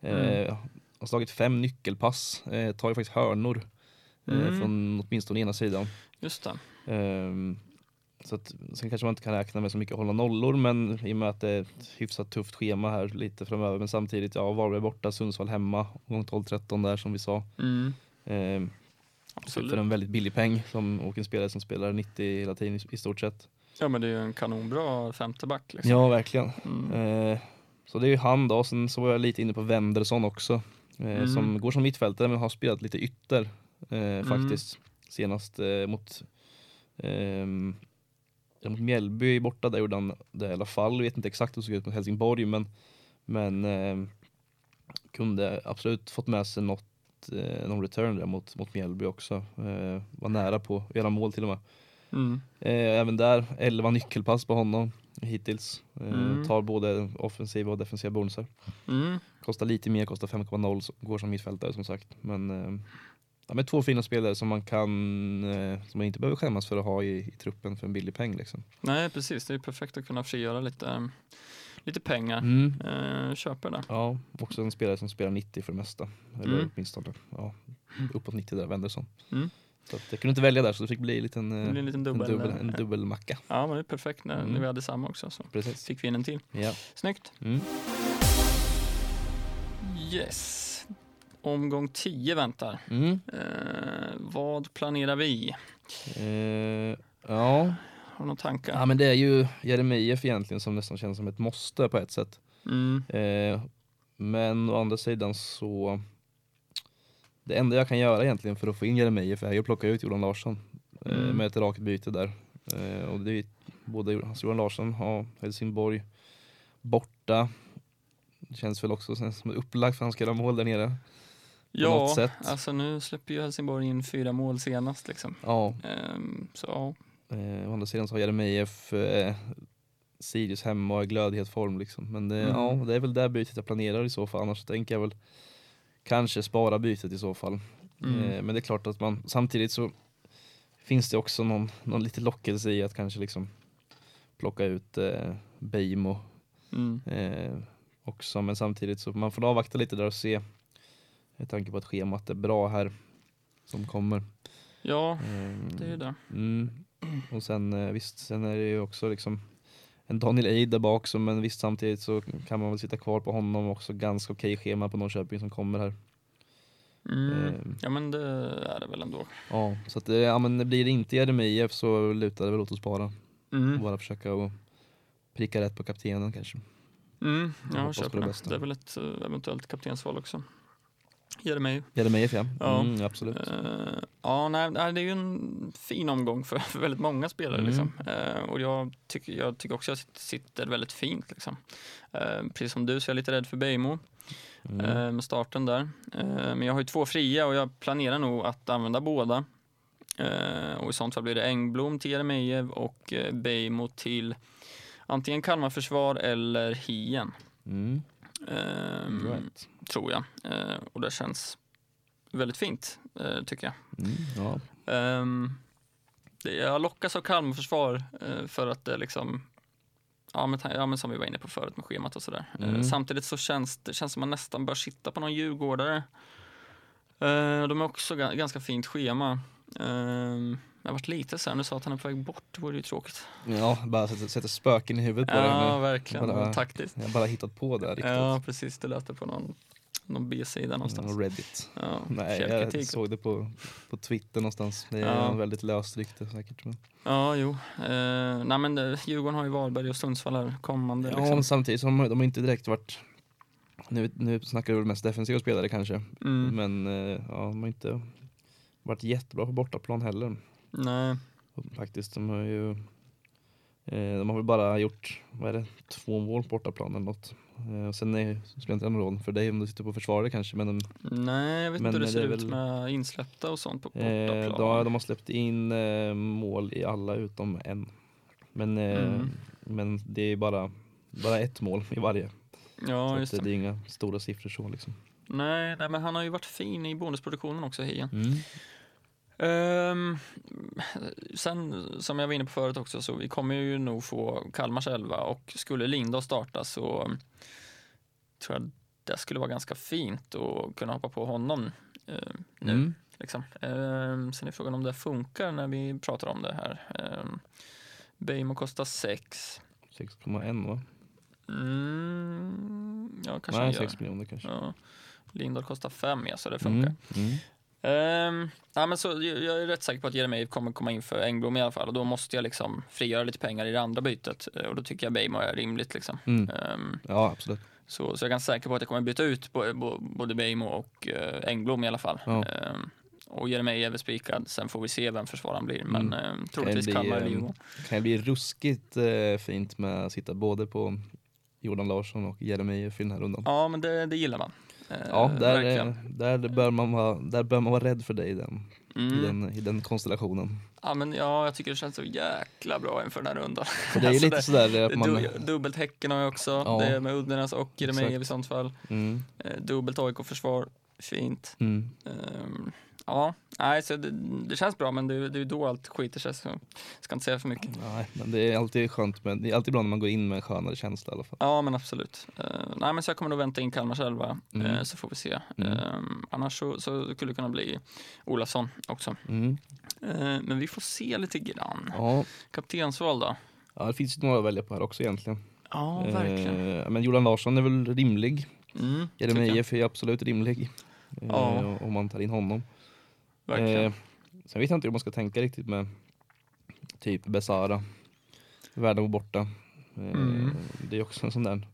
[SPEAKER 2] Eh,
[SPEAKER 3] Mm.
[SPEAKER 2] Har slagit fem nyckelpass, eh, tar ju faktiskt hörnor eh,
[SPEAKER 3] Mm.
[SPEAKER 2] från åtminstone ena sidan.
[SPEAKER 3] Just det.
[SPEAKER 2] Ehm, så att, sen kanske man inte kan räkna med så mycket hålla nollor men i och med att det är ett hyfsat tufft schema här lite framöver. Men samtidigt, ja Varberg borta, Sundsvall hemma, omgång 12-13 där som vi sa.
[SPEAKER 3] Mm.
[SPEAKER 2] Ehm,
[SPEAKER 3] Absolut.
[SPEAKER 2] för en väldigt billig peng som, och en spelare som spelar 90 hela tiden i, i stort sett.
[SPEAKER 3] Ja men det är ju en kanonbra femteback. Liksom.
[SPEAKER 2] Ja, verkligen.
[SPEAKER 3] Mm.
[SPEAKER 2] Eh, så det är ju han då. Sen så var jag lite inne på Wendersson också. Eh,
[SPEAKER 3] Mm.
[SPEAKER 2] Som går som mittfältare men har spelat lite ytter eh, faktiskt. Senast eh, mot, ehm, mot Mjällby borta, där gjorde han det i alla fall. Jag vet inte exakt hur det såg ut mot Helsingborg men, men ehm, kunde absolut fått med sig något eh, någon return där mot, mot Mjällby också. Eh, var nära på att göra mål till och med.
[SPEAKER 3] Mm.
[SPEAKER 2] Eh, även där 11 nyckelpass på honom hittills. Eh,
[SPEAKER 3] Mm.
[SPEAKER 2] Tar både offensiva och defensiva bonusar.
[SPEAKER 3] Mm.
[SPEAKER 2] Kostar lite mer, kostar 5,0, så- går som mittfältare som sagt. Men eh, ja, men två fina spelare som man kan, eh, som man inte behöver skämmas för att ha i, i truppen för en billig peng liksom.
[SPEAKER 3] Nej precis, det är ju perfekt att kunna frigöra lite, lite pengar.
[SPEAKER 2] Mm.
[SPEAKER 3] Eh, köper det.
[SPEAKER 2] Ja, också en spelare som spelar 90 för det mesta. Eller
[SPEAKER 3] Mm.
[SPEAKER 2] åtminstone ja, uppåt 90 där, Wendersson.
[SPEAKER 3] Mm.
[SPEAKER 2] Så att jag kunde inte välja där så det fick bli en liten,
[SPEAKER 3] Det
[SPEAKER 2] eh,
[SPEAKER 3] blir en liten dubbel.
[SPEAKER 2] en, dubbel, en dubbelmacka.
[SPEAKER 3] Ja, men det är perfekt när,
[SPEAKER 2] Mm.
[SPEAKER 3] när vi hade samma också. Så
[SPEAKER 2] Precis.
[SPEAKER 3] fick vi in en till.
[SPEAKER 2] Ja.
[SPEAKER 3] Snyggt.
[SPEAKER 2] Mm.
[SPEAKER 3] Yes. Omgång 10 väntar.
[SPEAKER 2] Mm.
[SPEAKER 3] Eh, vad planerar vi?
[SPEAKER 2] Eh, ja.
[SPEAKER 3] Har du några tankar?
[SPEAKER 2] ja, men det är ju Jeremejeff egentligen som nästan känns som ett måste på ett sätt.
[SPEAKER 3] Mm.
[SPEAKER 2] Eh, men å andra sidan så det enda jag kan göra egentligen för att få in Jeremejeff är ju att plocka ut Johan Larsson eh,
[SPEAKER 3] Mm.
[SPEAKER 2] med ett rakt byte där. Eh, och det är ju både alltså Johan Larsson och Helsingborg borta. Det känns väl också som upplagt för att han ska göra mål där nere. något
[SPEAKER 3] Ja,
[SPEAKER 2] sätt.
[SPEAKER 3] alltså nu släpper ju Helsingborg in fyra mål senast liksom.
[SPEAKER 2] Ja,
[SPEAKER 3] Ehm, så ja.
[SPEAKER 2] eh, å andra sidan så har Jeremejeff eh, Sirius hemma och är glöd i het form liksom. Men det,
[SPEAKER 3] Mm.
[SPEAKER 2] ja, det är väl det bytet jag planerar i så fall. Annars tänker jag väl kanske spara bytet i så fall.
[SPEAKER 3] Mm.
[SPEAKER 2] Eh, Men det är klart att man samtidigt så finns det också någon, någon lite lockelse i att kanske liksom plocka ut eh, Beijmo
[SPEAKER 3] Mm.
[SPEAKER 2] eh, också. Men samtidigt så man får avvakta lite där och se med tanke på att schemat är bra här som kommer.
[SPEAKER 3] Ja,
[SPEAKER 2] Eh,
[SPEAKER 3] det är ju det.
[SPEAKER 2] mm. Och sen eh, visst, sen är det ju också liksom en Daniel Eid där bak som, men visst samtidigt så kan man väl sitta kvar på honom också ganska okej schema på Norrköping som kommer här.
[SPEAKER 3] Mm.
[SPEAKER 2] Eh,
[SPEAKER 3] Ja, men det är det väl ändå.
[SPEAKER 2] Ja, så att, eh, ja, men det blir det inte Jeremejeff så lutar det väl åt att spara. Och
[SPEAKER 3] Mm.
[SPEAKER 2] bara försöka att pricka rätt på kaptenen kanske.
[SPEAKER 3] Mm.
[SPEAKER 2] Jag
[SPEAKER 3] Ja,
[SPEAKER 2] hoppas på
[SPEAKER 3] köper
[SPEAKER 2] det
[SPEAKER 3] det.
[SPEAKER 2] bästa.
[SPEAKER 3] Det är väl ett eh, eventuellt kaptensval också. Ger det mig.
[SPEAKER 2] Jeremejeff ja.
[SPEAKER 3] Ja.
[SPEAKER 2] Mm, absolut.
[SPEAKER 3] Eh, ja, nej, nej, det är ju en fin omgång för, för väldigt många spelare.
[SPEAKER 2] Mm.
[SPEAKER 3] Liksom. Eh, och jag tycker, jag tycker också att jag sit- sitter väldigt fint. Liksom. Eh, precis som du så är jag lite rädd för Bejmo
[SPEAKER 2] Mm.
[SPEAKER 3] eh, med starten där. Eh, men jag har ju två fria och jag planerar nog att använda båda. Eh, och i sånt fall blir det Engblom till Jeremejeff och eh, Bejmo till antingen Kalmarförsvar eller Hien.
[SPEAKER 2] Mm.
[SPEAKER 3] Ehm,
[SPEAKER 2] Right.
[SPEAKER 3] Tror jag. Eh, och det känns väldigt fint, eh, tycker jag.
[SPEAKER 2] Mm. Ja.
[SPEAKER 3] Ehm, det, jag lockas av Kalmarförsvar eh, för att det liksom Ja men, ta- ja men som vi var inne på förut med schemat och sådär. Eh,
[SPEAKER 2] Mm.
[SPEAKER 3] samtidigt så känns det känns som man nästan bör sitta på någon djurgårdare. Eh, de har också ga- ganska fint schema. Ehm, jag har varit lite så här, nu sa att han är på väg bort, det vore ju tråkigt.
[SPEAKER 2] ja, bara sätta, sätta spöken i huvudet på
[SPEAKER 3] Ja
[SPEAKER 2] ja.
[SPEAKER 3] verkligen,
[SPEAKER 2] Bara-
[SPEAKER 3] taktiskt.
[SPEAKER 2] Jag har bara hittat på det här riktigt. Mm,
[SPEAKER 3] Ja precis, det lät det på någon, någon B-sida någonstans.
[SPEAKER 2] Och Reddit.
[SPEAKER 3] Ja,
[SPEAKER 2] Mm. Nej, jag
[SPEAKER 3] källkritik.
[SPEAKER 2] såg det på, på Twitter någonstans. Det är
[SPEAKER 3] Ja.
[SPEAKER 2] en väldigt löst rykte säkert. Men.
[SPEAKER 3] Ja, jo. Eh, nej, men det, Djurgården har ju Varberg och Sundsvall här kommande.
[SPEAKER 2] Ja, men
[SPEAKER 3] Liksom.
[SPEAKER 2] samtidigt så har de, de har inte direkt varit nu, nu snackar vi väl mest defensiva spelare kanske,
[SPEAKER 3] Mm.
[SPEAKER 2] men eh, ja, de har inte varit jättebra på bortaplan heller.
[SPEAKER 3] Nej.
[SPEAKER 2] Faktiskt, de har ju eh, De har väl bara gjort, vad är det, två mål på bortaplan eller något. Eh, och sen är, spelar inte det någon roll för dig om du sitter på försvarare kanske, men de,
[SPEAKER 3] nej, jag vet
[SPEAKER 2] Men
[SPEAKER 3] inte
[SPEAKER 2] det
[SPEAKER 3] hur det ser
[SPEAKER 2] är
[SPEAKER 3] ut
[SPEAKER 2] väl-
[SPEAKER 3] med insläppta och sånt på
[SPEAKER 2] eh,
[SPEAKER 3] bortaplan.
[SPEAKER 2] de, har- de har släppt in eh, mål i alla utom en. Men, eh,
[SPEAKER 3] Mm.
[SPEAKER 2] men det är bara, bara ett mål i varje. så
[SPEAKER 3] ja,
[SPEAKER 2] att
[SPEAKER 3] just
[SPEAKER 2] det,
[SPEAKER 3] det.
[SPEAKER 2] det är inga stora siffror så liksom.
[SPEAKER 3] Nej, nej, men han har ju varit fin i bonusproduktionen också, Hien. Ehm, sen, som jag var inne på förut också, så vi kommer ju nog få Kalmars elva och skulle Lindahl starta så tror jag det skulle vara ganska fint att kunna hoppa på honom eh, nu.
[SPEAKER 2] Mm.
[SPEAKER 3] Liksom. Ehm, sen är frågan om det funkar när vi pratar om det här. Um, Bejmo kostar 6.
[SPEAKER 2] 6,1 va?
[SPEAKER 3] Mm, ja, kanske han
[SPEAKER 2] Nej,
[SPEAKER 3] gör.
[SPEAKER 2] 6 miljoner kanske.
[SPEAKER 3] Ja. Lindahl kostar 5, ja, så det funkar.
[SPEAKER 2] Mm. Mm.
[SPEAKER 3] Ehm, ja, men så, jag jag är rätt säker på att Jeremejeff kommer komma in för Engblom i alla fall och då måste jag liksom frigöra lite pengar i det andra bytet Eh, och då tycker jag Bejmo är rimligt. Liksom.
[SPEAKER 2] Mm.
[SPEAKER 3] Ehm,
[SPEAKER 2] Ja, absolut.
[SPEAKER 3] Så, så jag är ganska säker på att jag kommer byta ut bo- bo- både Beijmo och eh, Engblom i alla fall.
[SPEAKER 2] Ja.
[SPEAKER 3] Ehm, och Jeremejeff är väl spikad, sen får vi se vem försvararen blir. Men eh, troligtvis
[SPEAKER 2] bli,
[SPEAKER 3] Kalmar eller
[SPEAKER 2] Mm. ehm,
[SPEAKER 3] Djurgården.
[SPEAKER 2] Kan det bli ruskigt eh, fint med att sitta både på Jordan Larsson och Jeremejeff i den här rundan.
[SPEAKER 3] Ja, men det, det gillar man. Eh,
[SPEAKER 2] Ja, där,
[SPEAKER 3] verkligen.
[SPEAKER 2] eh, där, bör man vara, där bör man vara rädd för dig i den, i
[SPEAKER 3] Mm.
[SPEAKER 2] den, i den konstellationen.
[SPEAKER 3] Ja, men ja, jag tycker det känns så jäkla bra inför den här rundan.
[SPEAKER 2] För det är ju
[SPEAKER 3] Alltså,
[SPEAKER 2] lite
[SPEAKER 3] det-
[SPEAKER 2] sådär eh, att man...
[SPEAKER 3] Du, dubbelt Häcken har jag också,
[SPEAKER 2] Ja.
[SPEAKER 3] det är med Uddenäs och Jeremejeff i
[SPEAKER 2] Exakt.
[SPEAKER 3] sånt fall.
[SPEAKER 2] Mm,
[SPEAKER 3] Eh, dubbelt AIK-försvar, fint.
[SPEAKER 2] mm.
[SPEAKER 3] Ehm, ja, nej, så det, det känns bra men det, är- det är då allt skiter sig så jag ska inte säga för mycket.
[SPEAKER 2] Nej, men det är alltid skönt med, det är alltid bra när man går in med en skönare känsla i alla fall.
[SPEAKER 3] Ja men absolut. Eh, nej men så jag kommer nog vänta in Kalmars elva
[SPEAKER 2] Mm.
[SPEAKER 3] eh, så får vi se.
[SPEAKER 2] Mm.
[SPEAKER 3] Eh, annars så, så skulle det kunna bli Olafsson också.
[SPEAKER 2] Mm.
[SPEAKER 3] Eh, men vi får se lite grann.
[SPEAKER 2] Ja.
[SPEAKER 3] Kaptensval då?
[SPEAKER 2] ja, det finns ju några att välja på här också egentligen.
[SPEAKER 3] Ja verkligen.
[SPEAKER 2] Eh, men Jordan Larsson är väl rimlig.
[SPEAKER 3] Mm, tycker jag.
[SPEAKER 2] Jeremejeff är absolut rimlig. Eh,
[SPEAKER 3] Ja.
[SPEAKER 2] Om man tar in honom.
[SPEAKER 3] Verkligen.
[SPEAKER 2] Eh, sen vet jag inte hur man ska tänka riktigt med typ Besara. Världen var borta. Eh,
[SPEAKER 3] Mm.
[SPEAKER 2] Det är också en sån där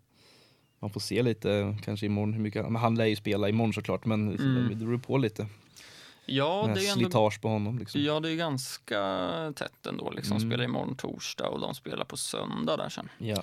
[SPEAKER 2] man får se lite kanske imorgon hur mycket, men han lär ju spela imorgon såklart men
[SPEAKER 3] Mm.
[SPEAKER 2] det beror på lite.
[SPEAKER 3] ja
[SPEAKER 2] Den här
[SPEAKER 3] det är ju ändå
[SPEAKER 2] slitage på honom liksom.
[SPEAKER 3] Ja, det är ju ganska tätt ändå. Liksom.
[SPEAKER 2] Mm.
[SPEAKER 3] Spelar imorgon torsdag och de spelar på söndag där sen.
[SPEAKER 2] Ja.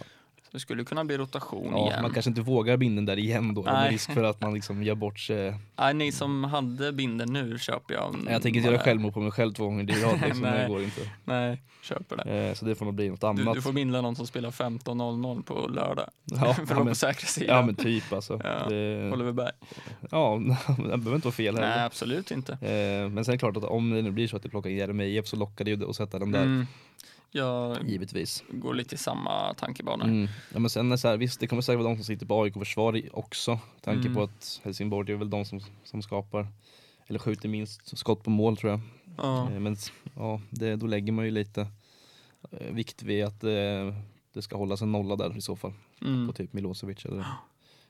[SPEAKER 3] Så det skulle kunna bli rotation
[SPEAKER 2] Ja,
[SPEAKER 3] igen.
[SPEAKER 2] man kanske inte vågar binden där igen då med
[SPEAKER 3] Nej.
[SPEAKER 2] risk för att man liksom gör bort sig.
[SPEAKER 3] Nej, ni som hade binden nu köper jag.
[SPEAKER 2] Nej, Jag tänker inte
[SPEAKER 3] bara-
[SPEAKER 2] göra självmord på mig själv två gånger i rad liksom,
[SPEAKER 3] Nej.
[SPEAKER 2] det går inte.
[SPEAKER 3] Nej, köper det.
[SPEAKER 2] Eh, så det får nog bli något
[SPEAKER 3] Du,
[SPEAKER 2] annat.
[SPEAKER 3] du får binda någon som spelar 15.00 på lördag.
[SPEAKER 2] ja,
[SPEAKER 3] för att
[SPEAKER 2] ja,
[SPEAKER 3] vara
[SPEAKER 2] men,
[SPEAKER 3] på säkra sidan.
[SPEAKER 2] ja men typ alltså.
[SPEAKER 3] Ja,
[SPEAKER 2] Det,
[SPEAKER 3] Oliver Berg.
[SPEAKER 2] ja, det behöver inte vara fel heller.
[SPEAKER 3] Nej, absolut inte.
[SPEAKER 2] Eh, men sen är det klart att om det nu blir så att de plockar in Jeremejeff så lockar det ju att sätta den där.
[SPEAKER 3] Mm, jag
[SPEAKER 2] Givetvis.
[SPEAKER 3] går lite i samma tankebanor.
[SPEAKER 2] Mm. Ja, men sen är det så här, visst, det kommer säkert vara de som sitter på AIK försvar i- också. Med Tanke
[SPEAKER 3] Mm.
[SPEAKER 2] på att Helsingborg det är väl de som, som skapar eller skjuter minst skott på mål tror jag.
[SPEAKER 3] Ja.
[SPEAKER 2] Eh, men s- ja, det, då lägger man ju lite eh, vikt vid att eh, det ska hållas en nolla där i så fall.
[SPEAKER 3] Mm,
[SPEAKER 2] På typ Milosevic eller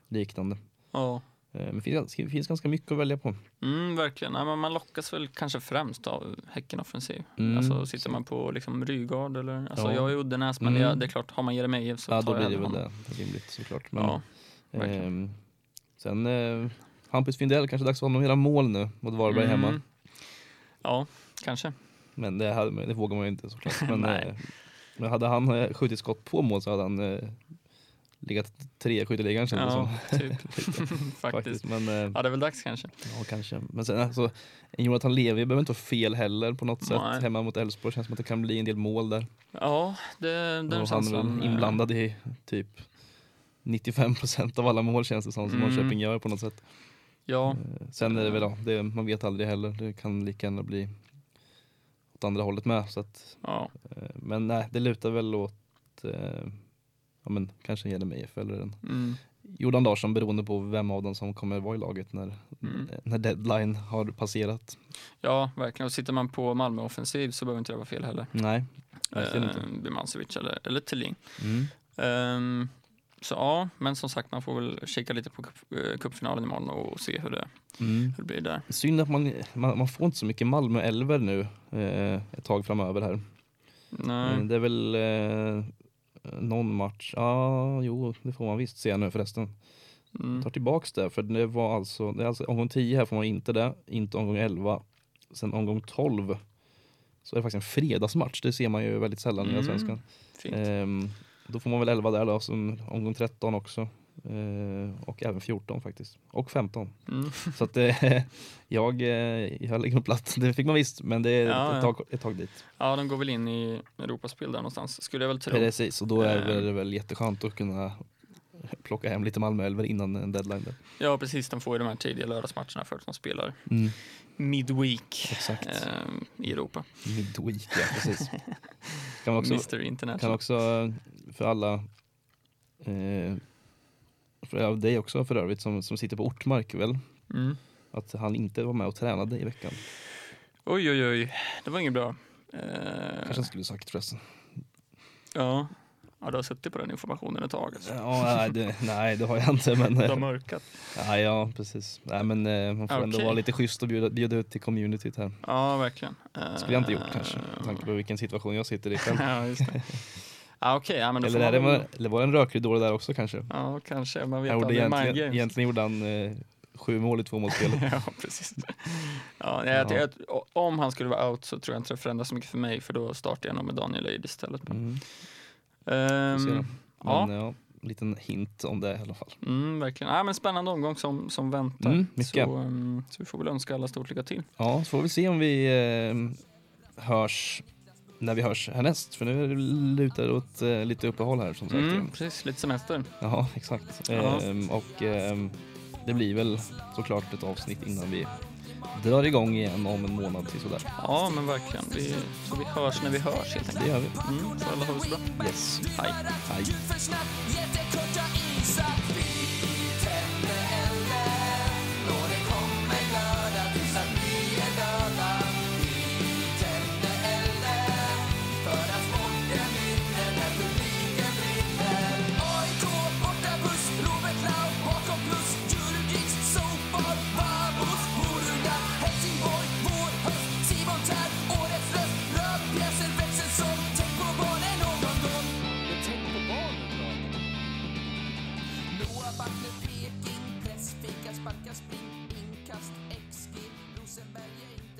[SPEAKER 2] liknande.
[SPEAKER 3] ja.
[SPEAKER 2] Eh, men det finns, det finns ganska mycket att välja på.
[SPEAKER 3] Mm, verkligen. Nej, men man lockas väl kanske främst av Häcken offensiv.
[SPEAKER 2] Mm.
[SPEAKER 3] Alltså sitter man på liksom Rygaard eller, alltså
[SPEAKER 2] Ja.
[SPEAKER 3] jag är Uddenäs men
[SPEAKER 2] Mm.
[SPEAKER 3] jag, det är klart, har man Jeremejeff så
[SPEAKER 2] Ja,
[SPEAKER 3] tar
[SPEAKER 2] då
[SPEAKER 3] jag
[SPEAKER 2] blir det
[SPEAKER 3] även
[SPEAKER 2] väl
[SPEAKER 3] honom.
[SPEAKER 2] det rimligt såklart. Men,
[SPEAKER 3] Ja. verkligen.
[SPEAKER 2] Ehm, sen eh, Hampus Findell, kanske dags för honom att göra mål nu mot Varberg hemma.
[SPEAKER 3] Mm. Ja, kanske.
[SPEAKER 2] Men det, hade, det vågar man ju inte såklart. Men,
[SPEAKER 3] Nej.
[SPEAKER 2] eh, men hade han eh, skjutit skott på mål så hade han eh, legat trea i skytteligan kändes det
[SPEAKER 3] Ja,
[SPEAKER 2] som.
[SPEAKER 3] typ. Faktiskt.
[SPEAKER 2] Faktiskt. Men, eh,
[SPEAKER 3] Ja, det är väl dags kanske.
[SPEAKER 2] ja, kanske. Men sen alltså, en Jonathan Levi behöver inte vara fel heller på något sätt.
[SPEAKER 3] Nej.
[SPEAKER 2] Hemma mot Elfsborg känns som att det kan bli en del mål där.
[SPEAKER 3] Ja, det, den eh,
[SPEAKER 2] Och han är
[SPEAKER 3] känslan.
[SPEAKER 2] väl inblandad i typ 95 procent av alla mål känns det som, som
[SPEAKER 3] Mm.
[SPEAKER 2] Norrköping gör på något sätt.
[SPEAKER 3] Ja,
[SPEAKER 2] Eh, Sen är det väl, ja, det, man vet aldrig heller. Det kan lika gärna bli åt andra hållet med. Så att,
[SPEAKER 3] ja.
[SPEAKER 2] eh, men nej, det lutar väl åt eh, ja, men, kanske Jeremejeff eller en
[SPEAKER 3] Mm.
[SPEAKER 2] Jordan Larsson beroende på vem av dem som kommer vara i laget när,
[SPEAKER 3] Mm.
[SPEAKER 2] när deadline har passerat.
[SPEAKER 3] ja, verkligen. Och sitter man på Malmö offensiv så behöver inte det vara fel heller.
[SPEAKER 2] Nej, verkligen inte.
[SPEAKER 3] Eh, Birmancevic eller, eller Thelin.
[SPEAKER 2] Mm.
[SPEAKER 3] Ehm, så ja, men som sagt, man får väl kika lite på cup- eh, cupfinalen imorgon och se hur det,
[SPEAKER 2] Mm.
[SPEAKER 3] hur det blir där.
[SPEAKER 2] Synd att man, man, man får inte så mycket Malmö elver nu eh, ett tag framöver här.
[SPEAKER 3] Nej.
[SPEAKER 2] Eh, Det är väl eh, någon match, ja ah, jo det får man visst se nu förresten.
[SPEAKER 3] Mm.
[SPEAKER 2] tar tillbaks det, för det var alltså, det är alltså omgång 10 här får man inte det, inte omgång 11. Sen omgång 12 så är det faktiskt en fredagsmatch, det ser man ju väldigt sällan i
[SPEAKER 3] Mm,
[SPEAKER 2] Allsvenskan.
[SPEAKER 3] Fint.
[SPEAKER 2] Ehm, då får man väl 11 där då, som omgång 13 också. Ehm, och även 14 faktiskt. Och 15.
[SPEAKER 3] Mm.
[SPEAKER 2] Så att eh, jag, eh, jag lägger mig platt. Det fick man visst, men det är
[SPEAKER 3] Ja,
[SPEAKER 2] ett,
[SPEAKER 3] ja.
[SPEAKER 2] tag, ett tag dit.
[SPEAKER 3] Ja, de går väl in i Europaspel där någonstans, skulle jag väl tro.
[SPEAKER 2] Precis, och då är det
[SPEAKER 3] Ehm.
[SPEAKER 2] väl, väl jätteskönt att kunna plocka hem lite Malmö-elver innan en deadline. Där.
[SPEAKER 3] Ja, precis. De får ju de här tidiga lördagsmatcherna för att de spelar
[SPEAKER 2] Mm,
[SPEAKER 3] midweek
[SPEAKER 2] exakt.
[SPEAKER 3] eh, i Europa.
[SPEAKER 2] Midweek, ja precis. Kan också,
[SPEAKER 3] Mr
[SPEAKER 2] kan
[SPEAKER 3] International.
[SPEAKER 2] också för alla, eh, för ja, dig också för övrigt, som, som sitter på Ortmark väl,
[SPEAKER 3] Mm.
[SPEAKER 2] att han inte var med och tränade i veckan.
[SPEAKER 3] Oj, oj, oj. Det var inget bra. Eh,
[SPEAKER 2] Kanske han skulle sagt förresten.
[SPEAKER 3] ja. ja, du har suttit på den informationen ett tag. Alltså.
[SPEAKER 2] Ja, nej, det, nej, det har jag inte. Men,
[SPEAKER 3] Du har
[SPEAKER 2] eh,
[SPEAKER 3] mörkat.
[SPEAKER 2] nej, ja, precis. Nej, men eh, man får ändå
[SPEAKER 3] Okej.
[SPEAKER 2] vara lite schysst och bjuda, bjuda ut till communityt här.
[SPEAKER 3] Ja, verkligen. Eh,
[SPEAKER 2] Det skulle jag inte gjort kanske, med tanke på vilken situation jag sitter i själv.
[SPEAKER 3] ja, just det. Ja, okej. Ja, men då
[SPEAKER 2] Eller,
[SPEAKER 3] får man
[SPEAKER 2] är det,
[SPEAKER 3] väl-
[SPEAKER 2] var- eller var det en rökridå det där också kanske?
[SPEAKER 3] Ja, kanske. Man vet
[SPEAKER 2] Han gjorde
[SPEAKER 3] aldrig. Mind
[SPEAKER 2] egentligen,
[SPEAKER 3] games.
[SPEAKER 2] egentligen gjorde han eh, sju mål i tvåmålsspelet.
[SPEAKER 3] ja, precis. Ja, nej, jag,
[SPEAKER 2] Ja.
[SPEAKER 3] jag, om han skulle vara out så tror jag inte det förändras så mycket för mig för då startar jag nog med Daniel Aid istället.
[SPEAKER 2] Mm.
[SPEAKER 3] Ehm,
[SPEAKER 2] Får se då.
[SPEAKER 3] ja.
[SPEAKER 2] Men ja. en liten hint om det i alla fall.
[SPEAKER 3] mm, verkligen. Ja, men spännande omgång som, som väntar.
[SPEAKER 2] Mm, mycket.
[SPEAKER 3] Så, ehm, så vi får väl önska alla stort lycka till.
[SPEAKER 2] Ja, så får vi se om vi eh, hörs när vi hörs härnäst. För nu är det lutar det åt eh, lite uppehåll här som sagt.
[SPEAKER 3] Mm, precis, lite semester.
[SPEAKER 2] Ja, exakt.
[SPEAKER 3] Ja.
[SPEAKER 2] Ehm, och ehm, det blir väl såklart ett avsnitt innan vi drar igång igen om en månad till sådär.
[SPEAKER 3] Ja, men verkligen. Vi, så vi hörs när vi hörs helt
[SPEAKER 2] Det
[SPEAKER 3] enkelt.
[SPEAKER 2] gör vi.
[SPEAKER 3] Mm, så alla har det så bra.
[SPEAKER 2] Yes.
[SPEAKER 3] Hej.
[SPEAKER 2] Hej.
[SPEAKER 1] Ljud för snabbt, jättekorta Pjäser växer som tänk på barnen någon gång Blåa vattnet, Peking, pressfika, sparka, spring, inkast, XG, Rosenberg, gäng